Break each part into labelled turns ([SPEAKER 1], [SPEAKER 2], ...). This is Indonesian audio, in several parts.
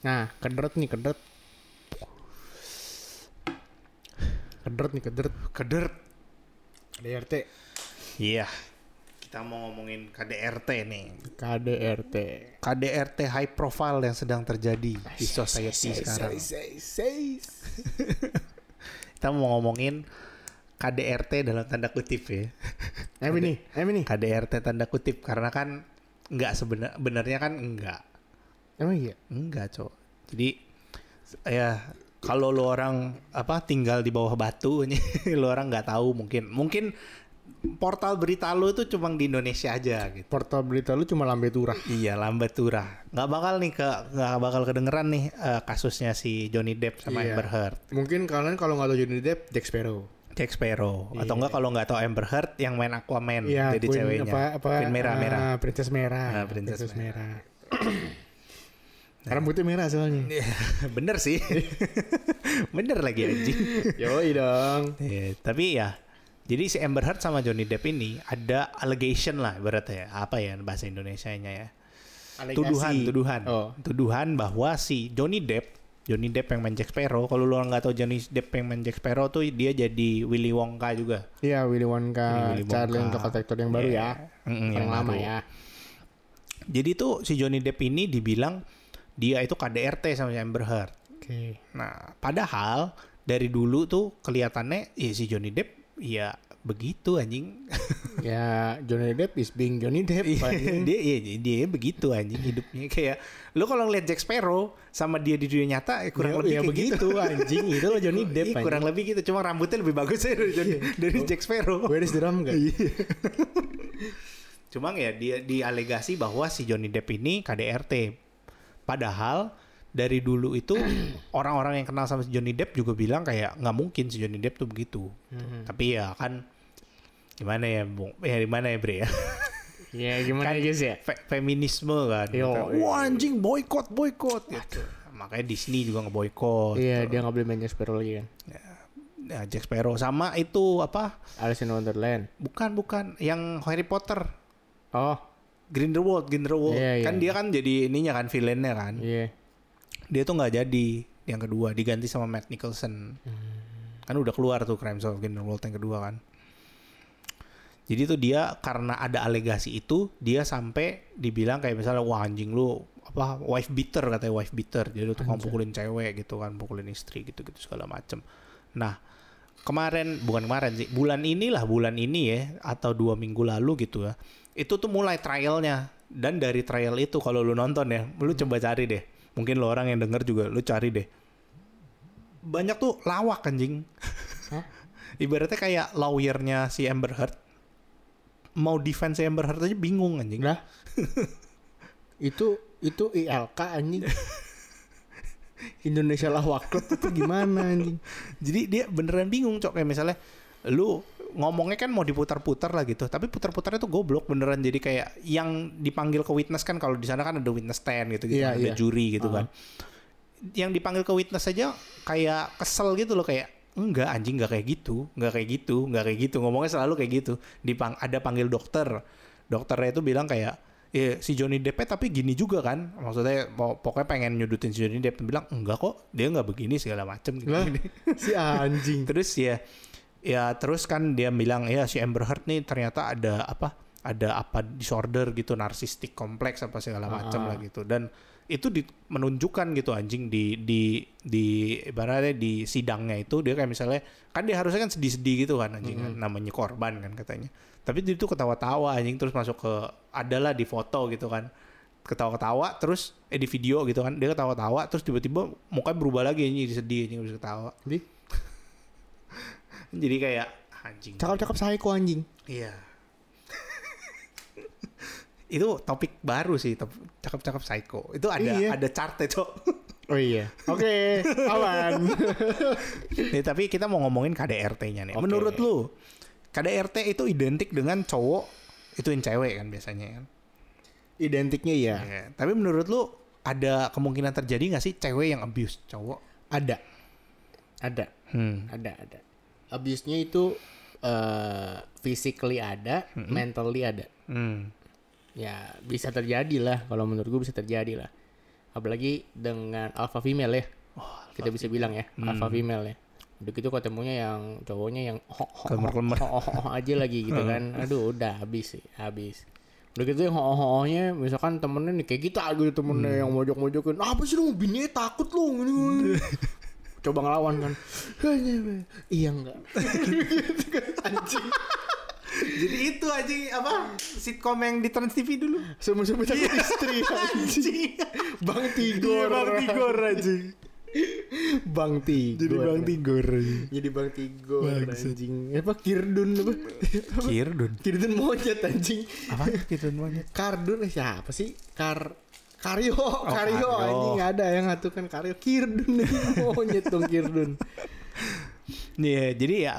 [SPEAKER 1] Nah, kedret nih, kedret. Kedret nih, kedret.
[SPEAKER 2] Kedert.
[SPEAKER 1] KDRT.
[SPEAKER 2] Iya. Kita mau ngomongin KDRT nih.
[SPEAKER 1] KDRT.
[SPEAKER 2] KDRT high profile yang sedang terjadi di society sekarang. Kita mau ngomongin KDRT dalam tanda kutip ya.
[SPEAKER 1] Emi nih, Emi nih.
[SPEAKER 2] KDRT tanda kutip karena kan nggak sebenar benarnya kan enggak.
[SPEAKER 1] Emang iya?
[SPEAKER 2] Enggak, Cok. Jadi s- ya kalau lu orang apa tinggal di bawah batu nih, lu orang nggak tahu mungkin. Mungkin portal berita lu itu cuma di Indonesia aja gitu.
[SPEAKER 1] Portal berita lu cuma lambe turah.
[SPEAKER 2] Iya, lambat turah. Nggak bakal nih ke nggak bakal kedengeran nih eh, kasusnya si Johnny Depp sama
[SPEAKER 1] Iya.
[SPEAKER 2] Amber Heard.
[SPEAKER 1] Mungkin kalian kalau nggak tahu Johnny Depp, Jack Sparrow.
[SPEAKER 2] Jack Sparrow
[SPEAKER 1] Iya.
[SPEAKER 2] atau enggak kalau nggak tahu Amber Heard yang main Aquaman
[SPEAKER 1] Iya,
[SPEAKER 2] Hmm, jadi
[SPEAKER 1] Queen
[SPEAKER 2] ceweknya.
[SPEAKER 1] apa, apa,
[SPEAKER 2] Queen merah
[SPEAKER 1] ah,
[SPEAKER 2] merah.
[SPEAKER 1] Princess merah.
[SPEAKER 2] Ah, Princess
[SPEAKER 1] merah. Rambutnya merah soalnya.
[SPEAKER 2] Bener sih. Bener lagi anjing.
[SPEAKER 1] Iya. Yoi dong.
[SPEAKER 2] Iya, tapi ya jadi si Amber Heard sama Johnny Depp ini ada allegation lah ibaratnya ya. apa ya bahasa Indonesianya ya. tuduhan
[SPEAKER 1] Alegasi.
[SPEAKER 2] tuduhan
[SPEAKER 1] Oh.
[SPEAKER 2] tuduhan bahwa si Johnny Depp Johnny Depp yang main Jack Sparrow kalau lu orang nggak tahu Johnny Depp yang main Jack Sparrow tuh dia jadi Willy Wonka juga
[SPEAKER 1] Iya, Willy Wonka,
[SPEAKER 2] Willy Wonka.
[SPEAKER 1] Charlie and the Chocolate Factory yang baru
[SPEAKER 2] Iya.
[SPEAKER 1] ya.
[SPEAKER 2] Mm-mm,
[SPEAKER 1] yang,
[SPEAKER 2] yang
[SPEAKER 1] lama
[SPEAKER 2] baru.
[SPEAKER 1] ya.
[SPEAKER 2] jadi tuh si Johnny Depp ini dibilang dia itu KDRT sama si Amber Heard
[SPEAKER 1] Oke.
[SPEAKER 2] nah padahal dari dulu tuh kelihatannya ya si Johnny Depp ya begitu anjing
[SPEAKER 1] ya, Johnny Depp is being Johnny Depp. anjing.
[SPEAKER 2] dia iya, dia, dia begitu anjing hidupnya kayak lu kalau ngeliat Jack Sparrow sama dia di dunia nyata ya
[SPEAKER 1] Ya-
[SPEAKER 2] kurang lebih
[SPEAKER 1] ya
[SPEAKER 2] kayak
[SPEAKER 1] begitu,
[SPEAKER 2] gitu
[SPEAKER 1] anjing. Itu loh Johnny Depp, Iya. Oh.
[SPEAKER 2] Iya, kurang lebih gitu cuma rambutnya lebih bagus aja dari, Johnny- dari Jack Sparrow
[SPEAKER 1] Where is the rum guys?
[SPEAKER 2] Iya. cuma ya dia dialegasi bahwa si Johnny Depp ini KDRT padahal dari dulu itu orang-orang yang kenal sama si Johnny Depp juga bilang kayak nggak mungkin si Johnny Depp tuh begitu
[SPEAKER 1] Hmm.
[SPEAKER 2] tapi ya kan gimana ya bung ya gimana ya Bre ya
[SPEAKER 1] Ya
[SPEAKER 2] Kan
[SPEAKER 1] gimana guys ya?
[SPEAKER 2] Fe- feminisme kan.
[SPEAKER 1] Yo,
[SPEAKER 2] Kayak,
[SPEAKER 1] iya.
[SPEAKER 2] Wah anjing boykot boykot gitu. Makanya Disney juga ngeboykot.
[SPEAKER 1] Iya dia nggak boleh main Jack Sparrow lagi kan?
[SPEAKER 2] Nah, Jack Sparrow sama itu apa?
[SPEAKER 1] Alice in Wonderland.
[SPEAKER 2] Bukan bukan yang Harry Potter
[SPEAKER 1] Oh
[SPEAKER 2] Grindelwald Grindelwald
[SPEAKER 1] Iya, iya,
[SPEAKER 2] kan dia kan jadi ininya kan villainnya kan.
[SPEAKER 1] iya.
[SPEAKER 2] Dia tuh nggak jadi yang kedua diganti sama Matt Nicholson. Kan udah keluar tuh Crimes of Grindelwald yang kedua kan. Jadi tuh dia karena ada alegasi itu dia sampai dibilang kayak misalnya wah anjing lu apa wife beater katanya wife beater jadi lu tukang pukulin cewek gitu kan pukulin istri gitu gitu segala macem. Nah kemarin bukan kemarin sih bulan inilah bulan ini ya atau dua minggu lalu gitu ya itu tuh mulai trialnya dan dari trial itu kalau lu nonton ya lu coba cari deh mungkin lo orang yang denger juga lu cari deh banyak tuh lawak anjing
[SPEAKER 1] Hah?
[SPEAKER 2] ibaratnya kayak lawyernya si Amber Heard mau defense si Amber Heard aja bingung anjing
[SPEAKER 1] Lah itu itu ILK anjing. Indonesia lah waklub itu gimana anjing?
[SPEAKER 2] jadi dia beneran bingung cok kayak misalnya lu ngomongnya kan mau diputar-putar lah gitu tapi putar-putarnya tuh goblok beneran jadi kayak yang dipanggil ke witness kan kalau di sana kan ada witness stand gitu gitu
[SPEAKER 1] Iya,
[SPEAKER 2] ada
[SPEAKER 1] iya.
[SPEAKER 2] juri gitu kan yang dipanggil ke witness aja kayak kesel gitu loh kayak enggak anjing enggak kayak gitu enggak kayak gitu enggak kayak gitu ngomongnya selalu kayak gitu Dipang ada panggil dokter dokternya itu bilang kayak ya si Johnny Depp tapi gini juga kan maksudnya po- pokoknya pengen nyudutin si Johnny Depp bilang enggak kok dia enggak begini segala macem gitu
[SPEAKER 1] Lah si anjing.
[SPEAKER 2] terus ya ya terus kan dia bilang ya si Amber Heard nih ternyata ada apa ada apa disorder gitu narsistik kompleks apa segala macam lah gitu dan itu di, menunjukkan gitu anjing di di di ibaratnya di sidangnya itu dia kayak misalnya kan dia harusnya kan sedih-sedih gitu kan anjing kan, namanya korban kan katanya tapi dia tuh ketawa-tawa anjing terus masuk ke adalah di foto gitu kan ketawa-ketawa terus eh di video gitu kan dia ketawa-tawa terus tiba-tiba mukanya berubah lagi anjing jadi sedih anjing habis ketawa
[SPEAKER 1] Jadi
[SPEAKER 2] jadi kayak anjing.
[SPEAKER 1] cakap-cakap psycho anjing.
[SPEAKER 2] Iya. itu topik baru sih, top- cakep-cakep psycho. Itu ada
[SPEAKER 1] Iya.
[SPEAKER 2] ada chartnya, Cok.
[SPEAKER 1] Oh iya. Oke, awan.
[SPEAKER 2] Nih, tapi kita mau ngomongin KDRT-nya nih.
[SPEAKER 1] Oke.
[SPEAKER 2] Menurut lu, KDRT itu identik dengan cowok ituin cewek kan biasanya kan.
[SPEAKER 1] Identiknya ya
[SPEAKER 2] Iya. Tapi menurut lu ada kemungkinan terjadi nggak sih cewek yang abuse cowok?
[SPEAKER 1] ada. Ada.
[SPEAKER 2] Hmm.
[SPEAKER 1] ada ada abuse-nya itu eh physically ada mentally ada
[SPEAKER 2] Hmm.
[SPEAKER 1] ya bisa terjadi lah kalau menurut gue bisa terjadi lah apalagi dengan alpha female ya
[SPEAKER 2] Oh,
[SPEAKER 1] kita bisa bilang ya alpha female ya udah gitu ketemunya yang cowoknya yang ho, ho, ho,
[SPEAKER 2] Kelemar-kelemar.
[SPEAKER 1] ho, ho, ho aja lagi gitu kan aduh udah habis sih habis udah gitu yang ho nya misalkan temennya nih kayak kita gitu temennya yang mojok-mojokin "Ah, apa sih lu bini takut lu gini, gini." coba ngelawan kan iya enggak
[SPEAKER 2] Jadi itu aja apa sitkom yang di Trans TV dulu.
[SPEAKER 1] sama-sama takut istri Iya. anjing bang
[SPEAKER 2] Iya,
[SPEAKER 1] tigor
[SPEAKER 2] Bang Tigor aja.
[SPEAKER 1] bang tigor
[SPEAKER 2] Jadi Bang Tigor aja.
[SPEAKER 1] jadi bang tigor
[SPEAKER 2] Bangsat.
[SPEAKER 1] anjing apa kirdun apa
[SPEAKER 2] Kirdun.
[SPEAKER 1] kirdun monyet anjing
[SPEAKER 2] Apa Gitu Kirdun monyet?
[SPEAKER 1] Kardun eh, siapa sih? Kar Karyo, Oh, Karyo
[SPEAKER 2] Karyo.
[SPEAKER 1] anjing ada yang ngatukan Karyo Kirdun monyet dong Kirdun.
[SPEAKER 2] Iya, jadi ya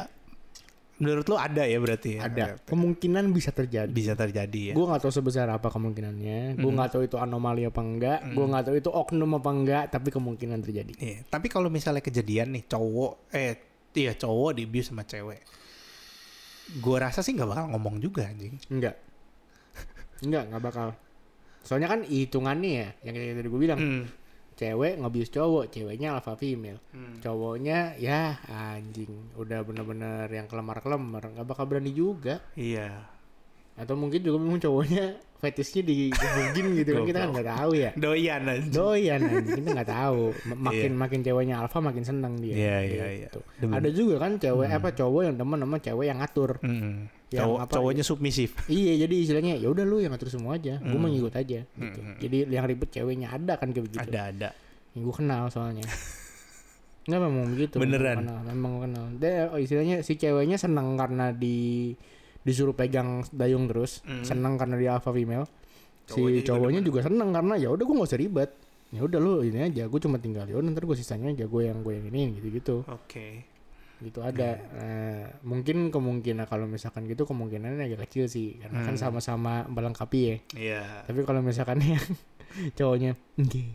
[SPEAKER 2] menurut lu ada ya berarti ya?
[SPEAKER 1] Ada kemungkinan bisa terjadi.
[SPEAKER 2] Bisa terjadi ya.
[SPEAKER 1] Gue nggak tahu sebesar apa kemungkinannya. Gue nggak tahu itu anomali apa enggak. Gue nggak tahu itu oknum apa enggak. Tapi kemungkinan terjadi.
[SPEAKER 2] Iya, tapi kalau misalnya kejadian nih cowok eh iya cowok di abuse sama cewek. Gua rasa sih nggak bakal ngomong juga anjing.
[SPEAKER 1] Enggak, enggak nggak bakal. Soalnya kan hitungannya ya yang kayak tadi gue bilang.
[SPEAKER 2] Hmm.
[SPEAKER 1] Cewek ngebius cowok, ceweknya alpha female.
[SPEAKER 2] Hmm.
[SPEAKER 1] Cowoknya ya anjing. Udah bener-bener yang kelemar-kelemar. Nggak bakal berani juga.
[SPEAKER 2] Iya.
[SPEAKER 1] atau mungkin juga memang cowoknya fetishnya dihubungin gitu kan kita kan nggak tahu ya
[SPEAKER 2] Doyan anjing.
[SPEAKER 1] doyan anjing kita nggak tahu M- makin makin ceweknya alfa makin seneng dia
[SPEAKER 2] Iya, iya, iya. Hmm.
[SPEAKER 1] Gitu.
[SPEAKER 2] Demen.
[SPEAKER 1] ada juga kan cewek apa cowok yang demen sama cewek yang ngatur
[SPEAKER 2] Mm-mm. gitu.
[SPEAKER 1] Yang
[SPEAKER 2] Cowok-
[SPEAKER 1] apa-
[SPEAKER 2] cowoknya submisif.
[SPEAKER 1] iya jadi istilahnya ya udah lu yang ngatur semua aja gue
[SPEAKER 2] Hmm.
[SPEAKER 1] mau ngikut aja gitu jadi yang ribet ceweknya ada kan kayak begitu
[SPEAKER 2] Ada ada.
[SPEAKER 1] gue kenal soalnya Enggak memang begitu. memang
[SPEAKER 2] Beneran?
[SPEAKER 1] Kenal, memang gua kenal. Dia oh, istilahnya si ceweknya seneng karena di disuruh pegang dayung terus, seneng karena dia alpha female.
[SPEAKER 2] Hmm,
[SPEAKER 1] si
[SPEAKER 2] Cowoknya juga
[SPEAKER 1] cowoknya juga, seneng karena ya udah gue gak usah ribet. Ya udah lu ini aja, gue cuma tinggal ya udah, ntar gue sisanya aja gue yang gue yang ini gitu-gitu.
[SPEAKER 2] Oke.
[SPEAKER 1] Gitu ada.
[SPEAKER 2] Hmm.
[SPEAKER 1] Eh, mungkin kemungkinan kalau misalkan gitu kemungkinannya agak kecil sih karena
[SPEAKER 2] Hmm.
[SPEAKER 1] kan sama-sama melengkapi ya.
[SPEAKER 2] Iya.
[SPEAKER 1] Tapi kalau misalkan yang cowoknya nggih.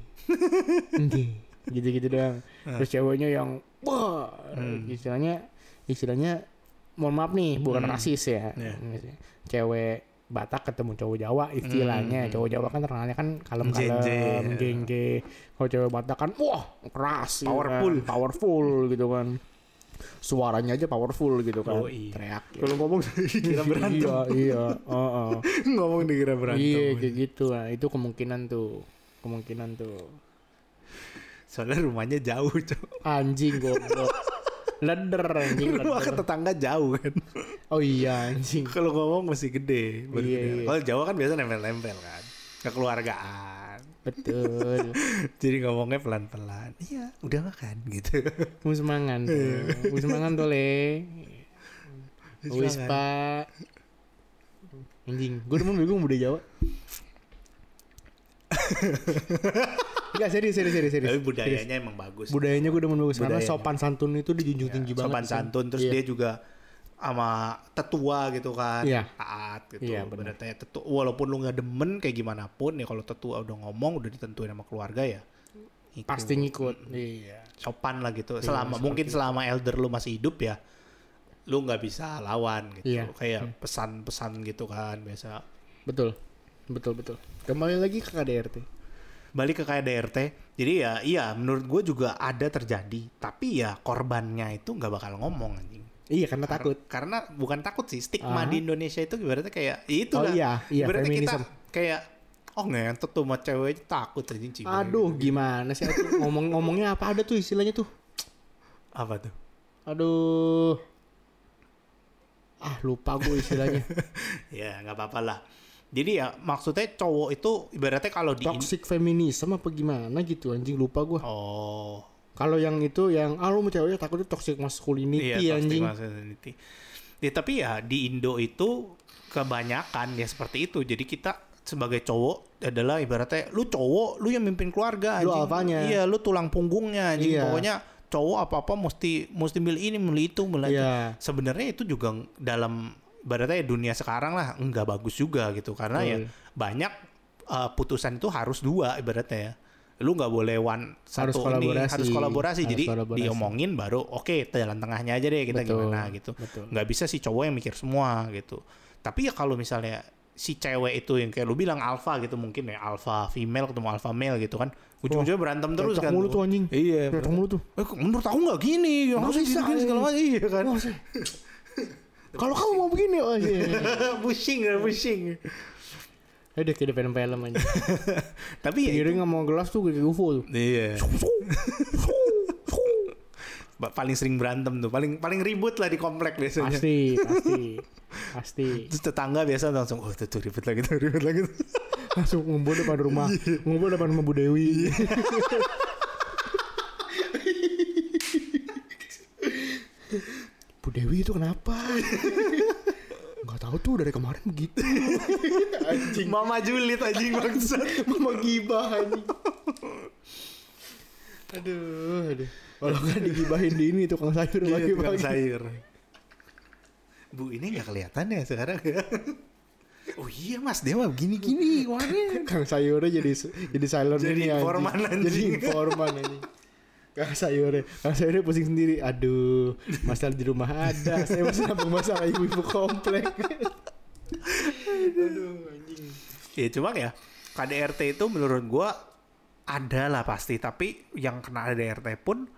[SPEAKER 1] Nggih. Gitu-gitu doang.
[SPEAKER 2] Nah.
[SPEAKER 1] Terus ceweknya yang wah
[SPEAKER 2] Hmm.
[SPEAKER 1] istilahnya istilahnya mohon maaf nih bukan rasis ya.
[SPEAKER 2] Iya.
[SPEAKER 1] Cewek Batak ketemu cowok Jawa
[SPEAKER 2] Hmm.
[SPEAKER 1] istilahnya. Cowok Jawa kan terkenalnya kan kalem-kalem,
[SPEAKER 2] Jenje.
[SPEAKER 1] gengge. Kalau cewek Batak kan wah keras gitu kan.
[SPEAKER 2] Powerful.
[SPEAKER 1] powerful gitu kan. Suaranya aja powerful gitu kan.
[SPEAKER 2] Yoi.
[SPEAKER 1] Teriak gitu.
[SPEAKER 2] Oh, iya. Kalau ngomong dikira berantem.
[SPEAKER 1] Iya, iya. Heeh.
[SPEAKER 2] ngomong dikira berantem.
[SPEAKER 1] Iya kayak gitu lah. Itu kemungkinan tuh. Kemungkinan tuh.
[SPEAKER 2] Soalnya rumahnya jauh, cowok.
[SPEAKER 1] Anjing goblok. Leder anjing
[SPEAKER 2] Rumah ke
[SPEAKER 1] leder.
[SPEAKER 2] tetangga jauh kan.
[SPEAKER 1] Oh iya anjing.
[SPEAKER 2] Kalau ngomong masih gede. baru
[SPEAKER 1] Iya,
[SPEAKER 2] gede.
[SPEAKER 1] iya.
[SPEAKER 2] Kalau Jawa kan biasa nempel-nempel kan. Kekeluargaan.
[SPEAKER 1] Betul.
[SPEAKER 2] Jadi ngomongnya pelan-pelan. Iya, udah makan gitu.
[SPEAKER 1] Musmangan. tuh. Musmangan tuh le. Wis
[SPEAKER 2] Silakan.
[SPEAKER 1] pak. Anjing. Gue demen bingung budaya Jawa. Enggak serius serius serius serius.
[SPEAKER 2] Tapi
[SPEAKER 1] Serius.
[SPEAKER 2] budayanya emang bagus.
[SPEAKER 1] Budayanya gue demen bagus karena
[SPEAKER 2] Budayanya.
[SPEAKER 1] sopan santun itu dijunjung tinggi banget.
[SPEAKER 2] Sopan
[SPEAKER 1] di sana.
[SPEAKER 2] santun terus
[SPEAKER 1] Iya.
[SPEAKER 2] dia juga sama tetua gitu kan.
[SPEAKER 1] Iya.
[SPEAKER 2] Taat gitu.
[SPEAKER 1] Iya, benar.
[SPEAKER 2] Berarti tetua walaupun lu nggak demen kayak gimana pun ya kalau tetua udah ngomong udah ditentuin sama keluarga ya. ikut.
[SPEAKER 1] pasti ngikut. Iya.
[SPEAKER 2] sopan lah gitu. Selama mungkin selama elder lu masih hidup ya lu nggak bisa lawan gitu.
[SPEAKER 1] Iya.
[SPEAKER 2] Kayak pesan-pesan gitu kan biasa.
[SPEAKER 1] Betul. Betul betul. Kembali lagi ke KDRT.
[SPEAKER 2] balik ke KDRT. Jadi ya iya menurut gue juga ada terjadi. Tapi ya korbannya itu nggak bakal ngomong anjing.
[SPEAKER 1] Iya karena takut.
[SPEAKER 2] Karena bukan takut sih stigma
[SPEAKER 1] Aha.
[SPEAKER 2] di Indonesia itu ibaratnya kayak ya
[SPEAKER 1] Oh
[SPEAKER 2] itulah.
[SPEAKER 1] iya, iya,
[SPEAKER 2] ibaratnya
[SPEAKER 1] feminism.
[SPEAKER 2] kita kayak oh ngentot tuh sama cewek takut anjing cibir.
[SPEAKER 1] Aduh gimana sih aku ngomong-ngomongnya apa ada tuh istilahnya tuh.
[SPEAKER 2] Apa tuh?
[SPEAKER 1] Aduh. Ah lupa gue istilahnya.
[SPEAKER 2] Ya nggak apa-apa lah. Jadi ya maksudnya cowok itu ibaratnya kalau di
[SPEAKER 1] Toxic feminism apa gimana gitu anjing lupa gue.
[SPEAKER 2] Oh.
[SPEAKER 1] Kalau yang itu yang ah lu mau ceweknya takutnya toxic masculinity
[SPEAKER 2] Iya, toxic
[SPEAKER 1] anjing.
[SPEAKER 2] masculinity. Ya, tapi ya di Indo itu kebanyakan ya seperti itu. Jadi kita sebagai cowok adalah ibaratnya lu cowok, lu yang mimpin keluarga
[SPEAKER 1] Lu
[SPEAKER 2] anjing.
[SPEAKER 1] alfanya.
[SPEAKER 2] Iya, lu tulang punggungnya anjing.
[SPEAKER 1] Iya.
[SPEAKER 2] Pokoknya cowok apa-apa mesti mesti milih ini, milih itu, milih itu.
[SPEAKER 1] Iya.
[SPEAKER 2] Sebenarnya itu juga ng- dalam ibaratnya ya dunia sekarang lah nggak bagus juga gitu karena ya
[SPEAKER 1] Betul.
[SPEAKER 2] banyak uh, putusan itu harus dua ibaratnya ya. Lu nggak boleh one
[SPEAKER 1] Harus
[SPEAKER 2] satu ini,
[SPEAKER 1] kolaborasi.
[SPEAKER 2] harus kolaborasi.
[SPEAKER 1] Harus
[SPEAKER 2] Jadi
[SPEAKER 1] kolaborasi.
[SPEAKER 2] diomongin baru oke jalan tengahnya aja deh kita
[SPEAKER 1] Betul,
[SPEAKER 2] gimana gitu.
[SPEAKER 1] betul.
[SPEAKER 2] Nggak bisa si cowok yang mikir semua gitu. Tapi ya kalau misalnya si cewek itu yang kayak lu bilang alpha gitu mungkin ya alpha female ketemu alpha male gitu kan ujung-ujungnya berantem terus
[SPEAKER 1] Cocok
[SPEAKER 2] kan
[SPEAKER 1] mulu tuh anjing.
[SPEAKER 2] iya
[SPEAKER 1] Cocok mulu tuh.
[SPEAKER 2] Eh, kok menurut aku nggak gini ya harus
[SPEAKER 1] Nggak
[SPEAKER 2] bisa
[SPEAKER 1] bisa,
[SPEAKER 2] kan
[SPEAKER 1] iya.
[SPEAKER 2] segala macam iya kan
[SPEAKER 1] Kalau kamu mau begini, oh iya.
[SPEAKER 2] pusing ya pusing
[SPEAKER 1] Ada kayak di film-film aja.
[SPEAKER 2] tapi ya
[SPEAKER 1] Piring sama gelas tuh kayak UFO tuh.
[SPEAKER 2] Iya. Ba- paling sering berantem tuh, paling paling ribut lah di komplek biasanya.
[SPEAKER 1] Pasti, pasti, pasti.
[SPEAKER 2] Terus tetangga biasa langsung, oh tuh, tuh ribut lagi, tuh ribut lagi.
[SPEAKER 1] Langsung ngumpul depan rumah,
[SPEAKER 2] Iya.
[SPEAKER 1] ngumpul depan rumah Bu Dewi. Bu Dewi itu kenapa? Gak tahu tuh dari kemarin begitu.
[SPEAKER 2] anjing. Mama julid anjing maksud.
[SPEAKER 1] Mama gibah anjing. Aduh, aduh. Kalau nggak digibahin di ini tukang sayur
[SPEAKER 2] Iya, tukang
[SPEAKER 1] pagi-pagi.
[SPEAKER 2] sayur. Bu ini nggak kelihatan ya sekarang ya. Oh iya mas, dia mah gini-gini kemarin.
[SPEAKER 1] Kang sayurnya jadi jadi silent
[SPEAKER 2] Jadi
[SPEAKER 1] ini anjing.
[SPEAKER 2] informan, anjing.
[SPEAKER 1] Jadi informan anjing. Kang sayurnya, Kang sayurnya pusing sendiri. Aduh, masalah di rumah ada. Saya masih nabung masalah ibu-ibu komplek. Aduh, anjing.
[SPEAKER 2] Ya cuma ya KDRT itu menurut gua ada lah pasti tapi yang kena KDRT pun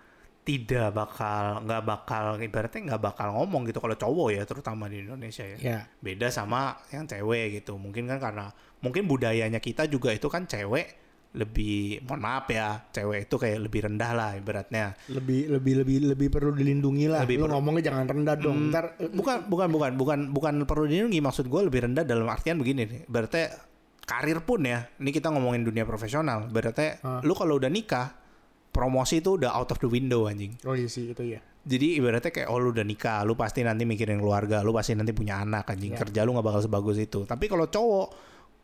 [SPEAKER 2] tidak bakal nggak bakal ibaratnya nggak bakal ngomong gitu kalau cowok ya terutama di Indonesia ya
[SPEAKER 1] Ya,
[SPEAKER 2] beda sama yang cewek gitu mungkin kan karena mungkin budayanya kita juga itu kan cewek lebih mohon maaf ya cewek itu kayak lebih rendah lah ibaratnya
[SPEAKER 1] lebih lebih lebih lebih perlu dilindungi lah.
[SPEAKER 2] Lebih
[SPEAKER 1] Lu
[SPEAKER 2] perlu. Hmm.
[SPEAKER 1] ngomongnya jangan rendah dong. Ntar eh,
[SPEAKER 2] bukan bukan bukan bukan bukan perlu dilindungi maksud gue lebih rendah dalam artian begini nih berarti karir pun ya ini kita ngomongin dunia profesional berarti
[SPEAKER 1] Ah.
[SPEAKER 2] lu kalau udah nikah promosi itu udah out of the window anjing
[SPEAKER 1] Oh iya sih itu ya.
[SPEAKER 2] jadi ibaratnya kayak oh lu udah nikah lu pasti nanti mikirin keluarga lu pasti nanti punya anak anjing
[SPEAKER 1] Ya.
[SPEAKER 2] kerja lu nggak bakal sebagus itu tapi kalau cowok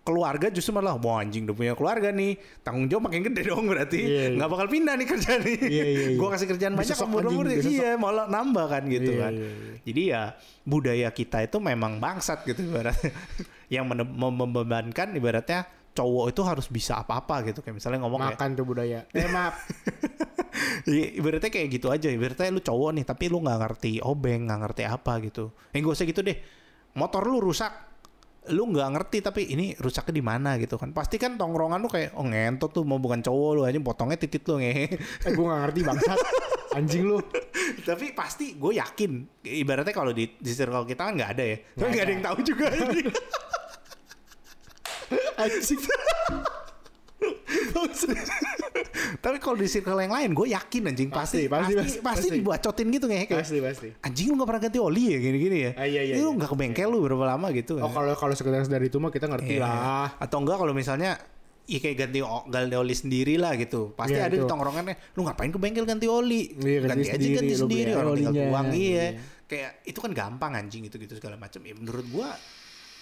[SPEAKER 2] keluarga justru malah wah anjing udah punya keluarga nih tanggung jawab makin gede dong berarti
[SPEAKER 1] Iya,
[SPEAKER 2] nggak
[SPEAKER 1] iya.
[SPEAKER 2] bakal pindah nih kerja nih
[SPEAKER 1] Iya, iya, iya.
[SPEAKER 2] gua kasih kerjaan banyak
[SPEAKER 1] Besok,
[SPEAKER 2] umur-umur
[SPEAKER 1] anjing, besok.
[SPEAKER 2] iya malah nambah kan gitu
[SPEAKER 1] Iya,
[SPEAKER 2] kan
[SPEAKER 1] iya, iya.
[SPEAKER 2] jadi ya budaya kita itu memang bangsat gitu ibaratnya. yang mene- mem- membebankan ibaratnya cowok itu harus bisa apa-apa gitu kayak misalnya ngomong kayak
[SPEAKER 1] Makan tuh budaya. Eh maaf.
[SPEAKER 2] I- ibaratnya kayak gitu aja ibaratnya lu cowok nih tapi lu nggak ngerti obeng nggak ngerti apa gitu eh gak usah gitu deh motor lu rusak lu nggak ngerti tapi ini rusaknya di mana gitu kan pasti kan tongkrongan lu kayak oh ngentot tuh mau bukan cowok lu aja potongnya titit lu ngehe
[SPEAKER 1] eh gue gak ngerti bangsat. Anjing lu.
[SPEAKER 2] tapi pasti gue yakin ibaratnya kalau di, di circle kita kan nggak ada ya tapi
[SPEAKER 1] Nggak
[SPEAKER 2] nggak ada
[SPEAKER 1] ada.
[SPEAKER 2] yang tahu juga
[SPEAKER 1] Anjing.
[SPEAKER 2] tapi kalau di circle yang lain gue yakin anjing pasti
[SPEAKER 1] Pasti, pasti,
[SPEAKER 2] pasti pasti,
[SPEAKER 1] pasti,
[SPEAKER 2] pasti,
[SPEAKER 1] pasti.
[SPEAKER 2] dibacotin gitu ngehe kayak
[SPEAKER 1] Pasti pasti.
[SPEAKER 2] anjing lu gak pernah ganti oli ya gini-gini ya.
[SPEAKER 1] Ah, iya, iya,
[SPEAKER 2] Ini lu
[SPEAKER 1] iya.
[SPEAKER 2] gak ke bengkel lu berapa lama gitu. Iya.
[SPEAKER 1] Oh kalau kalau sekedar dari itu mah kita ngerti lah.
[SPEAKER 2] Atau enggak kalau misalnya ya kayak ganti o- ganti oli sendiri lah gitu. Pasti
[SPEAKER 1] Iya,
[SPEAKER 2] ada di
[SPEAKER 1] itu.
[SPEAKER 2] tongkrongannya, lu ngapain ke bengkel ganti oli?
[SPEAKER 1] Iya, ganti
[SPEAKER 2] ganti aja
[SPEAKER 1] sendiri,
[SPEAKER 2] ganti
[SPEAKER 1] lu
[SPEAKER 2] sendiri
[SPEAKER 1] beli
[SPEAKER 2] orang tinggal
[SPEAKER 1] olinya,
[SPEAKER 2] buang iya.
[SPEAKER 1] iya.
[SPEAKER 2] Kayak itu kan gampang anjing gitu-gitu segala macam. Ya menurut gua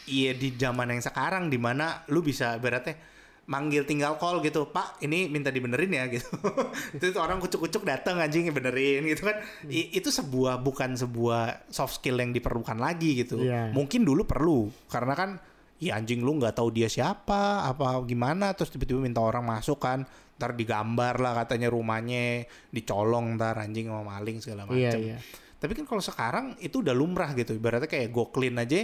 [SPEAKER 2] iya di zaman yang sekarang dimana lu bisa beratnya manggil tinggal call gitu pak ini minta dibenerin ya gitu terus orang kucuk-kucuk datang anjing benerin gitu kan I- itu sebuah bukan sebuah soft skill yang diperlukan lagi gitu
[SPEAKER 1] Iya.
[SPEAKER 2] mungkin dulu perlu karena kan ya anjing lu nggak tahu dia siapa apa gimana terus tiba-tiba minta orang masuk kan ntar digambar lah katanya rumahnya dicolong ntar anjing sama maling segala macam
[SPEAKER 1] Iya iya.
[SPEAKER 2] tapi kan kalau sekarang itu udah lumrah gitu ibaratnya kayak go clean aja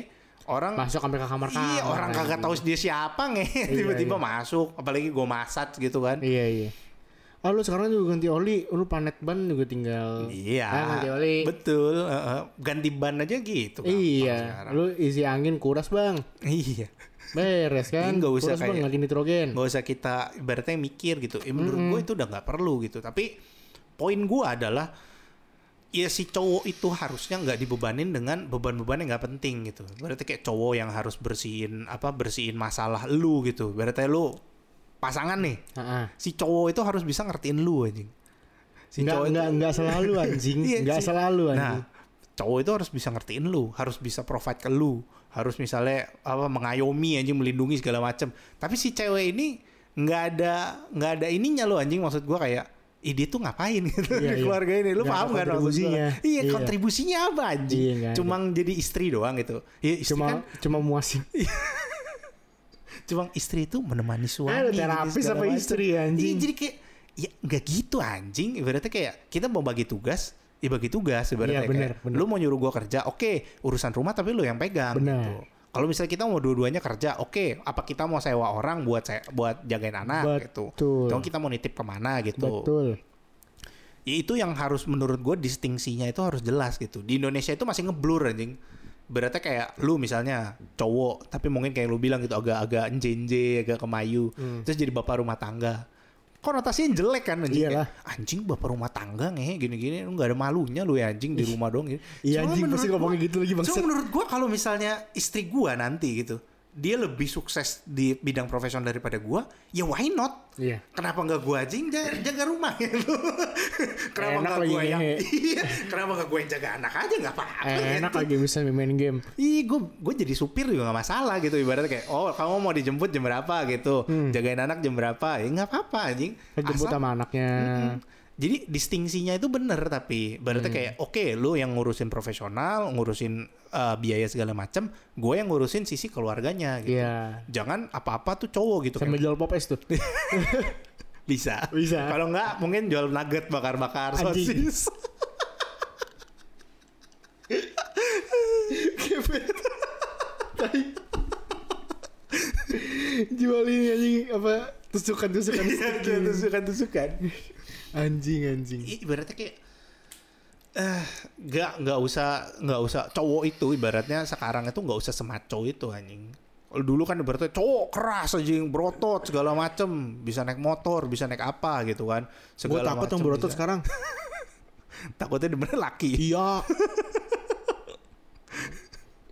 [SPEAKER 2] orang
[SPEAKER 1] Masuk sampai ke kamar kamar. gitu.
[SPEAKER 2] Iya orang kagak tahu dia siapa nge tiba-tiba
[SPEAKER 1] iya.
[SPEAKER 2] masuk apalagi gue masat gitu kan
[SPEAKER 1] Iya iya. Oh lu sekarang juga ganti oli, lu panet ban juga tinggal.
[SPEAKER 2] iya
[SPEAKER 1] Ah, ganti oli.
[SPEAKER 2] betul eh, eh. ganti ban aja gitu gampang
[SPEAKER 1] iya,
[SPEAKER 2] sekarang.
[SPEAKER 1] lu isi angin kuras bang,
[SPEAKER 2] iya
[SPEAKER 1] beres kan?
[SPEAKER 2] Ini nggak
[SPEAKER 1] kuras
[SPEAKER 2] usah
[SPEAKER 1] bang,
[SPEAKER 2] kayak-
[SPEAKER 1] ganti nitrogen.
[SPEAKER 2] nggak usah kita ibaratnya mikir gitu eh, menurut gue itu udah nggak perlu gitu tapi poin gue adalah ya si cowok itu harusnya nggak dibebanin dengan beban-beban yang nggak penting gitu berarti kayak cowok yang harus bersihin apa bersihin masalah lu gitu berarti lu pasangan nih
[SPEAKER 1] Heeh.
[SPEAKER 2] si cowok itu harus bisa ngertiin lu anjing. Si
[SPEAKER 1] Nggak
[SPEAKER 2] cowok itu-
[SPEAKER 1] nggak nggak selalu anjing,
[SPEAKER 2] Iya,
[SPEAKER 1] nggak
[SPEAKER 2] si-
[SPEAKER 1] selalu anjing.
[SPEAKER 2] Nah, cowok itu harus bisa ngertiin lu, harus bisa provide ke lu, harus misalnya apa mengayomi anjing, melindungi segala macem. Tapi si cewek ini nggak ada nggak ada ininya lo anjing maksud gua kayak Ih dia tuh ngapain gitu
[SPEAKER 1] Iya, iya.
[SPEAKER 2] di keluarga ini Lu
[SPEAKER 1] Nggak
[SPEAKER 2] paham
[SPEAKER 1] ada
[SPEAKER 2] gak
[SPEAKER 1] kontribusinya.
[SPEAKER 2] Iya
[SPEAKER 1] Iya.
[SPEAKER 2] kontribusinya apa anjing
[SPEAKER 1] Iya, nggak ada.
[SPEAKER 2] Cuma jadi istri doang gitu ya, istri
[SPEAKER 1] cuma
[SPEAKER 2] kan,
[SPEAKER 1] cuma muasin.
[SPEAKER 2] Cuma istri itu menemani suami
[SPEAKER 1] Eh, lu
[SPEAKER 2] gitu,
[SPEAKER 1] terapis
[SPEAKER 2] segala
[SPEAKER 1] apa
[SPEAKER 2] macem.
[SPEAKER 1] istri,
[SPEAKER 2] Iya
[SPEAKER 1] anjing?
[SPEAKER 2] jadi kayak Ya nggak gitu anjing Ibaratnya kayak Kita mau bagi tugas Ya bagi tugas ibaratnya
[SPEAKER 1] Iya, bener,
[SPEAKER 2] kayak,
[SPEAKER 1] bener.
[SPEAKER 2] Lu mau nyuruh gua kerja Oke urusan rumah tapi lu yang pegang
[SPEAKER 1] Bener.
[SPEAKER 2] gitu. Kalau misalnya kita mau dua-duanya kerja, oke. Apa kita mau sewa orang buat saya, buat jagain anak gitu?
[SPEAKER 1] Betul.
[SPEAKER 2] Atau kita mau nitip kemana gitu?
[SPEAKER 1] Betul.
[SPEAKER 2] Ya, itu yang harus menurut gue distingsinya itu harus jelas gitu. Di Indonesia itu masih ngeblur anjing. Berarti kayak lu misalnya cowok, tapi mungkin kayak lu bilang gitu agak-agak enjenje, agak kemayu,
[SPEAKER 1] Hmm.
[SPEAKER 2] terus jadi bapak rumah tangga. Konotasinya jelek kan anjing.
[SPEAKER 1] Iyalah.
[SPEAKER 2] Kayak, anjing bapak rumah tangga ngehe gini-gini lu nggak ada malunya lu ya anjing di rumah dong gitu.
[SPEAKER 1] Iya
[SPEAKER 2] Cuma
[SPEAKER 1] anjing
[SPEAKER 2] menurut
[SPEAKER 1] pasti
[SPEAKER 2] gua-
[SPEAKER 1] ngomongnya gitu lagi
[SPEAKER 2] Cuma
[SPEAKER 1] bangset.
[SPEAKER 2] menurut gua kalau misalnya istri gua nanti gitu, dia lebih sukses di bidang profesional daripada gua, ya why not?
[SPEAKER 1] Iya.
[SPEAKER 2] Kenapa nggak gua aja yang ja- jaga rumah gitu? kenapa
[SPEAKER 1] Enak
[SPEAKER 2] nggak
[SPEAKER 1] lagi
[SPEAKER 2] gua yang
[SPEAKER 1] ngehe.
[SPEAKER 2] iya, kenapa nggak gua yang jaga anak aja nggak apa-apa?
[SPEAKER 1] Enak
[SPEAKER 2] gitu.
[SPEAKER 1] lagi bisa main game.
[SPEAKER 2] Ih, gue gue jadi supir juga gak masalah gitu ibaratnya kayak oh kamu mau dijemput jam berapa gitu jagain anak jam berapa ya nggak apa-apa anjing
[SPEAKER 1] Hmm. Jemput
[SPEAKER 2] Asal-
[SPEAKER 1] sama anaknya.
[SPEAKER 2] jadi distingsinya itu bener tapi berarti
[SPEAKER 1] Hmm.
[SPEAKER 2] kayak oke lu yang ngurusin profesional, ngurusin uh, biaya segala macam, gue yang ngurusin sisi keluarganya gitu.
[SPEAKER 1] Iya.
[SPEAKER 2] Jangan apa-apa tuh cowok gitu
[SPEAKER 1] Sambil
[SPEAKER 2] kan.
[SPEAKER 1] jual pop es tuh.
[SPEAKER 2] Bisa.
[SPEAKER 1] Bisa.
[SPEAKER 2] Kalau enggak mungkin jual nugget bakar-bakar
[SPEAKER 1] Anjing.
[SPEAKER 2] sosis.
[SPEAKER 1] jual ini anjing apa tusukan tusukan
[SPEAKER 2] Iya, kayak tusukan-tusukan.
[SPEAKER 1] anjing anjing
[SPEAKER 2] I- Ibaratnya kayak eh nggak nggak usah nggak usah cowok itu ibaratnya sekarang itu nggak usah semaco itu anjing Kalau dulu kan ibaratnya cowok keras anjing berotot segala macem bisa naik motor bisa naik apa gitu kan
[SPEAKER 1] gue
[SPEAKER 2] segala
[SPEAKER 1] takut yang
[SPEAKER 2] macem
[SPEAKER 1] berotot
[SPEAKER 2] bisa.
[SPEAKER 1] sekarang
[SPEAKER 2] takutnya dia bener laki
[SPEAKER 1] iya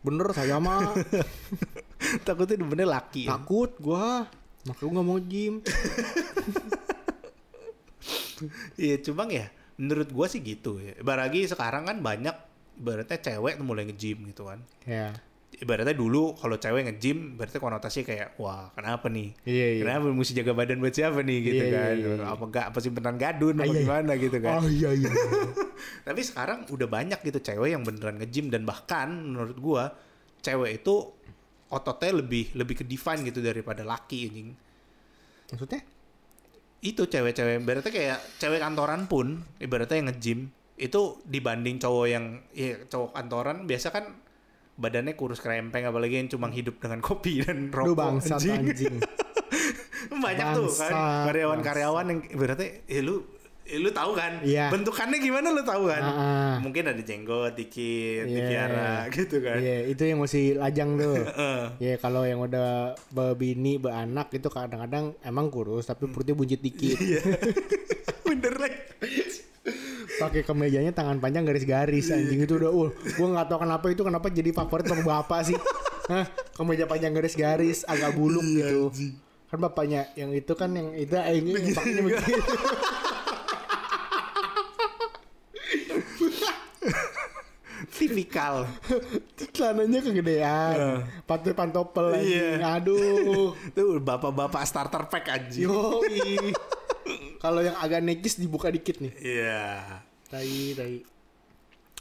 [SPEAKER 1] bener saya mah
[SPEAKER 2] takutnya dia bener laki
[SPEAKER 1] takut gua makanya gua nggak mau gym
[SPEAKER 2] Iya, cuma ya menurut gua sih gitu ya baragi sekarang kan banyak ibaratnya cewek mulai nge-gym gitu kan
[SPEAKER 1] ya
[SPEAKER 2] ibaratnya dulu kalau cewek nge-gym berarti konotasi kayak wah kenapa nih
[SPEAKER 1] Iya, iya.
[SPEAKER 2] kenapa mesti jaga badan buat siapa nih gitu
[SPEAKER 1] Iya, iya,
[SPEAKER 2] kan
[SPEAKER 1] iya, iya.
[SPEAKER 2] apa enggak apa simpenan gadun apa
[SPEAKER 1] Iya, iya.
[SPEAKER 2] gimana gitu kan
[SPEAKER 1] oh iya iya
[SPEAKER 2] tapi sekarang udah banyak gitu cewek yang beneran nge-gym dan bahkan menurut gua cewek itu ototnya lebih lebih ke define gitu daripada laki anjing
[SPEAKER 1] maksudnya
[SPEAKER 2] itu cewek-cewek berarti kayak cewek kantoran pun ibaratnya yang nge-gym itu dibanding cowok yang ya cowok kantoran biasa kan badannya kurus kerempeng apalagi yang cuma hidup dengan kopi dan
[SPEAKER 1] lu
[SPEAKER 2] rokok
[SPEAKER 1] bangsat
[SPEAKER 2] anjing.
[SPEAKER 1] anjing
[SPEAKER 2] banyak tuh kan
[SPEAKER 1] Bangsat,
[SPEAKER 2] karyawan-karyawan yang berarti eh, lu eh, lu tahu kan
[SPEAKER 1] Iya.
[SPEAKER 2] bentukannya gimana lu tahu kan
[SPEAKER 1] Ah.
[SPEAKER 2] mungkin ada jenggot dikit
[SPEAKER 1] Iya.
[SPEAKER 2] dipiara gitu kan Eh,
[SPEAKER 1] Iya, itu yang masih lajang tuh.
[SPEAKER 2] Heeh.
[SPEAKER 1] Ya kalau yang udah berbini, beranak itu kadang-kadang emang kurus
[SPEAKER 2] Hmm.
[SPEAKER 1] tapi perutnya buncit dikit.
[SPEAKER 2] iya bener lagi
[SPEAKER 1] pakai kemejanya tangan panjang garis-garis anjing itu udah uh gue nggak tahu kenapa itu kenapa jadi favorit sama bapak sih Hah, kemeja panjang garis-garis agak bulung
[SPEAKER 2] Iya,
[SPEAKER 1] gitu kan bapaknya yang itu kan yang itu eh, ini yang pakainya begini
[SPEAKER 2] tipikal
[SPEAKER 1] celananya kegedean pantai pantopel anjing
[SPEAKER 2] Iya.
[SPEAKER 1] aduh
[SPEAKER 2] tuh bapak-bapak starter pack anjing
[SPEAKER 1] yoi kalau yang agak necis dibuka dikit nih
[SPEAKER 2] iya
[SPEAKER 1] tai tai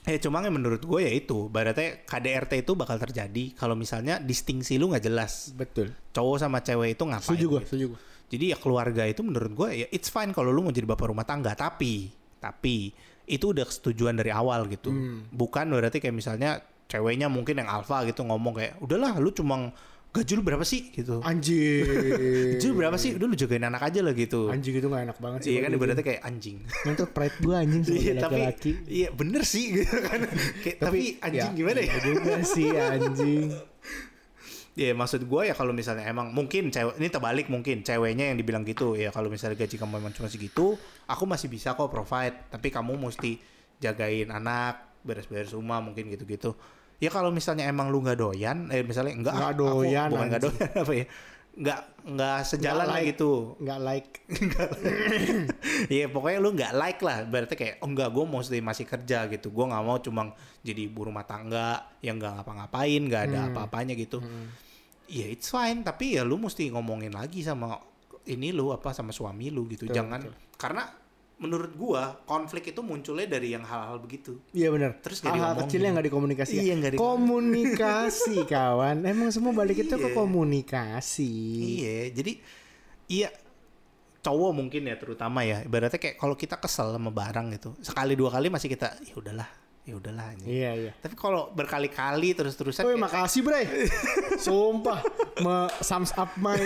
[SPEAKER 2] Eh cuma yang menurut gue ya itu, baratnya KDRT itu bakal terjadi kalau misalnya distingsi lu nggak jelas
[SPEAKER 1] betul
[SPEAKER 2] cowok sama cewek itu ngapain.
[SPEAKER 1] setuju gue
[SPEAKER 2] gitu.
[SPEAKER 1] setuju gue
[SPEAKER 2] Jadi ya keluarga itu menurut gue ya it's fine kalau lu mau jadi bapak rumah tangga, tapi tapi itu udah kesetujuan dari awal gitu.
[SPEAKER 1] Hmm.
[SPEAKER 2] Bukan berarti kayak misalnya ceweknya mungkin yang alfa gitu ngomong kayak udahlah lu cuma gaji lu berapa sih gitu.
[SPEAKER 1] anjing
[SPEAKER 2] Gaji lu berapa sih? Udah lu jagain anak aja lah gitu.
[SPEAKER 1] anjing itu gak enak banget sih
[SPEAKER 2] Iya kan
[SPEAKER 1] kalau gitu.
[SPEAKER 2] ibaratnya kayak anjing.
[SPEAKER 1] Menurut pride gue anjing
[SPEAKER 2] Iya
[SPEAKER 1] sebagai
[SPEAKER 2] tapi
[SPEAKER 1] laki-laki.
[SPEAKER 2] iya bener sih gitu kan. Kayak, tapi, anjing gimana ya?
[SPEAKER 1] iya juga sih anjing.
[SPEAKER 2] Ya maksud gue ya kalau misalnya emang mungkin cewek ini terbalik mungkin ceweknya yang dibilang gitu ya kalau misalnya gaji kamu emang cuma segitu aku masih bisa kok provide tapi kamu mesti jagain anak beres-beres rumah mungkin gitu-gitu ya kalau misalnya emang lu nggak doyan eh misalnya enggak
[SPEAKER 1] Nggak
[SPEAKER 2] aku-
[SPEAKER 1] doyan,
[SPEAKER 2] bukan nggak
[SPEAKER 1] anjing.
[SPEAKER 2] doyan apa ya nggak nggak sejalan
[SPEAKER 1] Nggak
[SPEAKER 2] lah
[SPEAKER 1] like.
[SPEAKER 2] gitu
[SPEAKER 1] Nggak like.
[SPEAKER 2] Iya pokoknya lu nggak like lah berarti kayak oh enggak gue mesti masih kerja gitu gue nggak mau cuma jadi ibu rumah tangga yang nggak ngapa-ngapain nggak ada
[SPEAKER 1] Hmm.
[SPEAKER 2] apa-apanya gitu ya it's fine tapi ya lu mesti ngomongin lagi sama ini lu apa sama suami lu gitu
[SPEAKER 1] Betul,
[SPEAKER 2] jangan karena menurut gua konflik itu munculnya dari yang hal-hal begitu
[SPEAKER 1] Iya benar.
[SPEAKER 2] Terus nggak
[SPEAKER 1] hal-hal
[SPEAKER 2] diomongin.
[SPEAKER 1] kecil yang nggak dikomunikasi.
[SPEAKER 2] Iya, nggak dikomunikasi.
[SPEAKER 1] Komunikasi kawan. Emang semua balik itu ke
[SPEAKER 2] Iya.
[SPEAKER 1] komunikasi.
[SPEAKER 2] iya jadi iya cowok mungkin ya terutama ya ibaratnya kayak kalau kita kesel sama barang gitu sekali dua kali masih kita ya udahlah ya udahlah anjing."
[SPEAKER 1] Iya iya.
[SPEAKER 2] tapi kalau berkali-kali terus-terusan
[SPEAKER 1] Woi
[SPEAKER 2] kayak-
[SPEAKER 1] makasih bre. Sumpah, me sums up my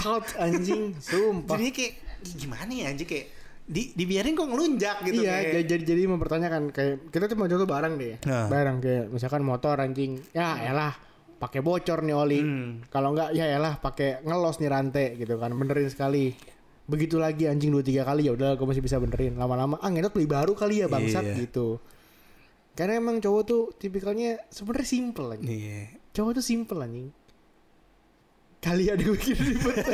[SPEAKER 1] thought anjing. Sumpah.
[SPEAKER 2] Jadinya kayak gimana ya anjing kayak di, dibiarin kok ngelunjak gitu
[SPEAKER 1] iya,
[SPEAKER 2] kayak.
[SPEAKER 1] jadi, jadi jadi mempertanyakan kayak kita cuma contoh barang deh. ya.
[SPEAKER 2] Nah.
[SPEAKER 1] Barang kayak misalkan motor anjing. Ya elah, pakai bocor nih oli.
[SPEAKER 2] Hmm.
[SPEAKER 1] Kalau enggak ya elah pakai ngelos nih rantai gitu kan. Benerin sekali. Begitu lagi anjing dua tiga kali ya udah gue masih bisa benerin. Lama-lama ah ngentot beli baru kali ya bangsat
[SPEAKER 2] Iya.
[SPEAKER 1] gitu. Karena emang cowok tuh tipikalnya sebenarnya simple anjing.
[SPEAKER 2] Iya.
[SPEAKER 1] Cowok tuh simple anjing. Kali ada bikin ribet.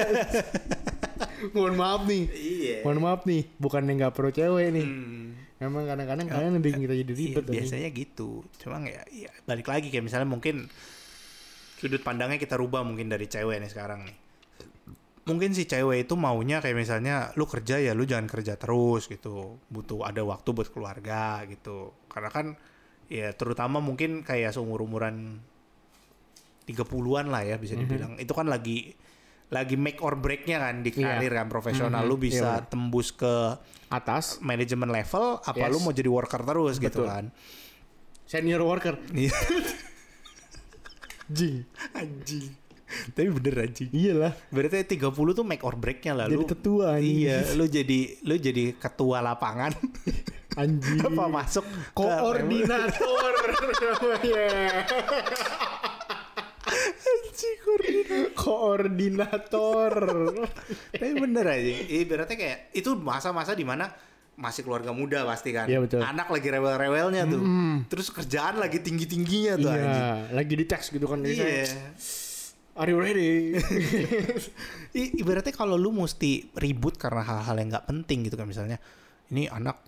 [SPEAKER 1] Mohon maaf nih.
[SPEAKER 2] Iya.
[SPEAKER 1] Mohon maaf nih, bukan yang nggak pro cewek nih.
[SPEAKER 2] Hmm.
[SPEAKER 1] Memang kadang-kadang kalian lebih kita jadi
[SPEAKER 2] Iya,
[SPEAKER 1] ribet anjing.
[SPEAKER 2] biasanya gitu. Cuma ya, ya balik lagi kayak misalnya mungkin sudut pandangnya kita rubah mungkin dari cewek nih sekarang nih. Mungkin si cewek itu maunya kayak misalnya lu kerja ya lu jangan kerja terus gitu. Butuh ada waktu buat keluarga gitu. Karena kan ya terutama mungkin kayak seumur-umuran 30-an lah
[SPEAKER 1] Mhm.
[SPEAKER 2] ya bisa dibilang. Itu kan lagi lagi make or break-nya kan di
[SPEAKER 1] Iya.
[SPEAKER 2] karir kan profesional
[SPEAKER 1] Mhm,
[SPEAKER 2] lu
[SPEAKER 1] iya
[SPEAKER 2] bisa
[SPEAKER 1] benar.
[SPEAKER 2] tembus ke
[SPEAKER 1] Atas
[SPEAKER 2] manajemen level apa
[SPEAKER 1] Yes.
[SPEAKER 2] lu mau jadi worker terus gitu
[SPEAKER 1] Betul.
[SPEAKER 2] kan
[SPEAKER 1] senior worker.
[SPEAKER 2] Iya.
[SPEAKER 1] Jing.
[SPEAKER 2] anjing tapi bener anjing
[SPEAKER 1] Iyalah,
[SPEAKER 2] berarti 30 tuh make or breaknya lah
[SPEAKER 1] jadi
[SPEAKER 2] lu
[SPEAKER 1] tetua anjing.
[SPEAKER 2] iya lu jadi lu jadi ketua lapangan
[SPEAKER 1] Anjing.
[SPEAKER 2] apa masuk ke-
[SPEAKER 1] Koordinator. namanya.
[SPEAKER 2] Anjing, koordinator.
[SPEAKER 1] Koordinator.
[SPEAKER 2] tapi bener anjing iya berarti kayak itu masa-masa dimana masih keluarga muda pasti kan
[SPEAKER 1] Iya, betul.
[SPEAKER 2] anak lagi rewel-rewelnya tuh terus kerjaan lagi tinggi-tingginya tuh anjing
[SPEAKER 1] iya, lagi di teks gitu kan
[SPEAKER 2] Iya.
[SPEAKER 1] biasanya. Are you ready?
[SPEAKER 2] I- Ibaratnya kalau lu mesti ribut karena hal-hal yang nggak penting gitu kan misalnya, ini anak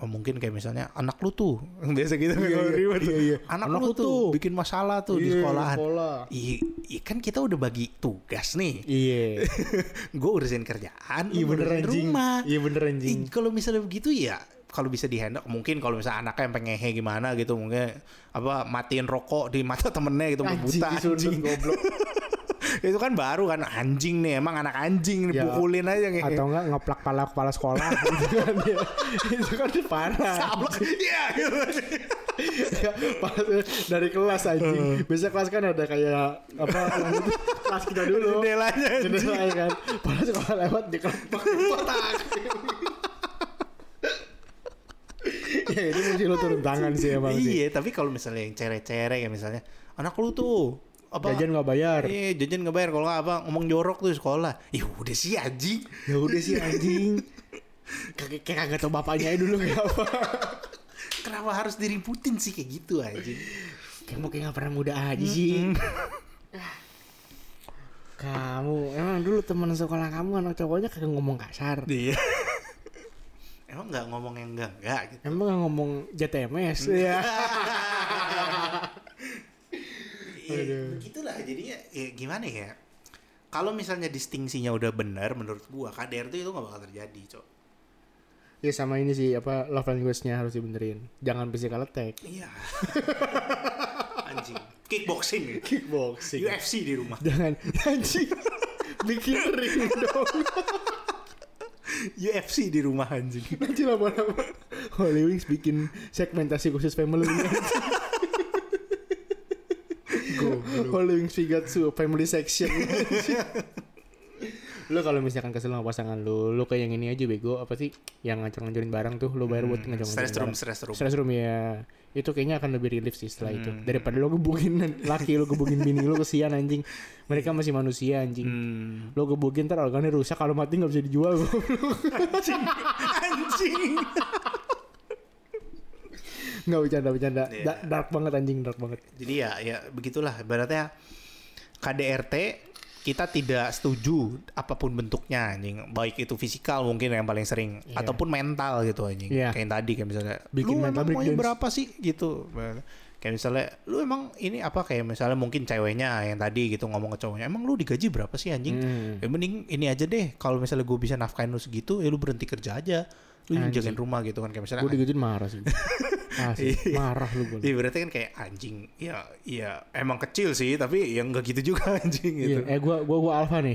[SPEAKER 2] oh, mungkin kayak misalnya anak lu tuh biasa gitu kan kalau ribut.
[SPEAKER 1] iya, iya.
[SPEAKER 2] Anak, lu tuh bikin masalah tuh di
[SPEAKER 1] Iya,
[SPEAKER 2] sekolahan.
[SPEAKER 1] sekolah.
[SPEAKER 2] Iya, iya, kan kita udah bagi tugas nih.
[SPEAKER 1] Iya.
[SPEAKER 2] Gue urusin kerjaan,
[SPEAKER 1] Iya
[SPEAKER 2] lu
[SPEAKER 1] bener
[SPEAKER 2] urusin
[SPEAKER 1] anjing.
[SPEAKER 2] rumah.
[SPEAKER 1] Iya bener anjing.
[SPEAKER 2] Ih, kalau misalnya begitu ya kalau bisa dihandle mungkin kalau misalnya anaknya yang pengehe gimana gitu mungkin apa matiin rokok di mata temennya gitu
[SPEAKER 1] Anjing
[SPEAKER 2] buta
[SPEAKER 1] disundut goblok.
[SPEAKER 2] itu kan baru kan anjing nih emang anak anjing
[SPEAKER 1] Ya,
[SPEAKER 2] dipukulin aja nih
[SPEAKER 1] atau enggak ngeplak kepala kepala sekolah gitu kan ya. itu kan parah
[SPEAKER 2] sablok iya gitu.
[SPEAKER 1] Ya, pas- dari kelas anjing biasa kelas kan ada kayak apa lanjut kelas kita dulu
[SPEAKER 2] jendelanya anjing.
[SPEAKER 1] jendela ya kan kepala sekolah lewat di kelopak kotak ya itu mesti lo turun tangan sih emang sih
[SPEAKER 2] iya tapi kalau misalnya yang cere-cere ya misalnya anak lu tuh apa
[SPEAKER 1] jajan nggak bayar
[SPEAKER 2] Iya jajan nggak bayar kalau nggak apa ngomong jorok tuh di sekolah. Ih udah sih anjing.
[SPEAKER 1] ya udah sih anjing Kayak kayak kagak tau bapaknya aja dulu kayak apa
[SPEAKER 2] Kenapa harus diributin sih kayak gitu anjing?
[SPEAKER 1] Kamu kayak gak pernah muda aja sih. kamu emang dulu teman sekolah kamu anak cowoknya kagak ngomong kasar.
[SPEAKER 2] Iya. Emang nggak ngomong yang enggak enggak gitu.
[SPEAKER 1] Emang gak ngomong JTMS ya.
[SPEAKER 2] Iya, begitulah jadinya ya gimana ya? Kalau misalnya distingsinya udah benar menurut gua KDRT itu nggak bakal terjadi, Cok.
[SPEAKER 1] Ya sama ini sih apa love language-nya harus dibenerin. Jangan physical attack.
[SPEAKER 2] Iya. Anjing. Kickboxing.
[SPEAKER 1] Kickboxing.
[SPEAKER 2] UFC di rumah.
[SPEAKER 1] Iya. Jangan anjing. Bikin ring dong.
[SPEAKER 2] UFC di rumah anjing.
[SPEAKER 1] Nanti lama-lama Holy Wings bikin segmentasi khusus family. Holy Wings Figatsu family section. lu kalau misalkan kesel sama pasangan lu, lu kayak yang ini aja bego apa sih? Yang ngancur-ngancurin barang tuh lu bayar buat ngancur-ngancurin.
[SPEAKER 2] Stress room,
[SPEAKER 1] barang.
[SPEAKER 2] stress room.
[SPEAKER 1] Stress room ya. Itu kayaknya akan lebih relief sih setelah itu.
[SPEAKER 2] Hmm.
[SPEAKER 1] Daripada lu gebugin laki lu gebugin bini lu kesian anjing. Mereka masih manusia anjing.
[SPEAKER 2] Hmm.
[SPEAKER 1] Lu gebugin ntar organnya rusak kalau mati nggak bisa dijual.
[SPEAKER 2] Anjing. Anjing.
[SPEAKER 1] Nggak bercanda-bercanda.
[SPEAKER 2] Iya.
[SPEAKER 1] Da- Dark banget anjing, dark banget.
[SPEAKER 2] Jadi ya ya begitulah ibaratnya KDRT kita tidak setuju apapun bentuknya anjing baik itu fisikal mungkin yang paling sering
[SPEAKER 1] Iya.
[SPEAKER 2] ataupun mental gitu anjing
[SPEAKER 1] Iya.
[SPEAKER 2] kayak yang tadi kayak misalnya
[SPEAKER 1] Bikin
[SPEAKER 2] lu
[SPEAKER 1] mental
[SPEAKER 2] emang maunya
[SPEAKER 1] breakdance."
[SPEAKER 2] berapa sih gitu kayak misalnya lu emang ini apa kayak misalnya mungkin ceweknya yang tadi gitu ngomong ke cowoknya emang lu digaji berapa sih anjing
[SPEAKER 1] Hmm.
[SPEAKER 2] Ya mending ini aja deh kalau misalnya gue bisa nafkain lu segitu ya lu berhenti kerja aja lu
[SPEAKER 1] Anjing.
[SPEAKER 2] jagain rumah gitu kan kayak misalnya
[SPEAKER 1] Gue digituin marah sih. Asli, marah lu gue.
[SPEAKER 2] Iya berarti kan kayak anjing ya ya emang kecil sih tapi yang nggak gitu juga anjing gitu.
[SPEAKER 1] Iya, eh gua gua gua alfa nih.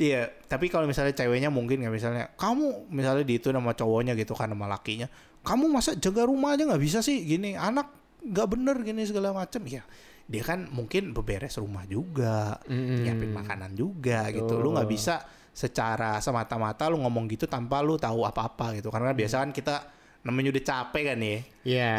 [SPEAKER 2] Iya tapi kalau misalnya ceweknya mungkin nggak misalnya kamu misalnya di itu nama cowoknya gitu kan nama lakinya kamu masa jaga rumah aja nggak bisa sih gini anak nggak bener gini segala macem ya dia kan mungkin beberes rumah juga,
[SPEAKER 1] Mm-mm.
[SPEAKER 2] nyiapin makanan juga
[SPEAKER 1] Betul.
[SPEAKER 2] gitu. Lu nggak bisa secara semata-mata lu ngomong gitu tanpa lu tahu apa-apa gitu. Karena biasa kan kita namanya udah capek kan ya.
[SPEAKER 1] Iya,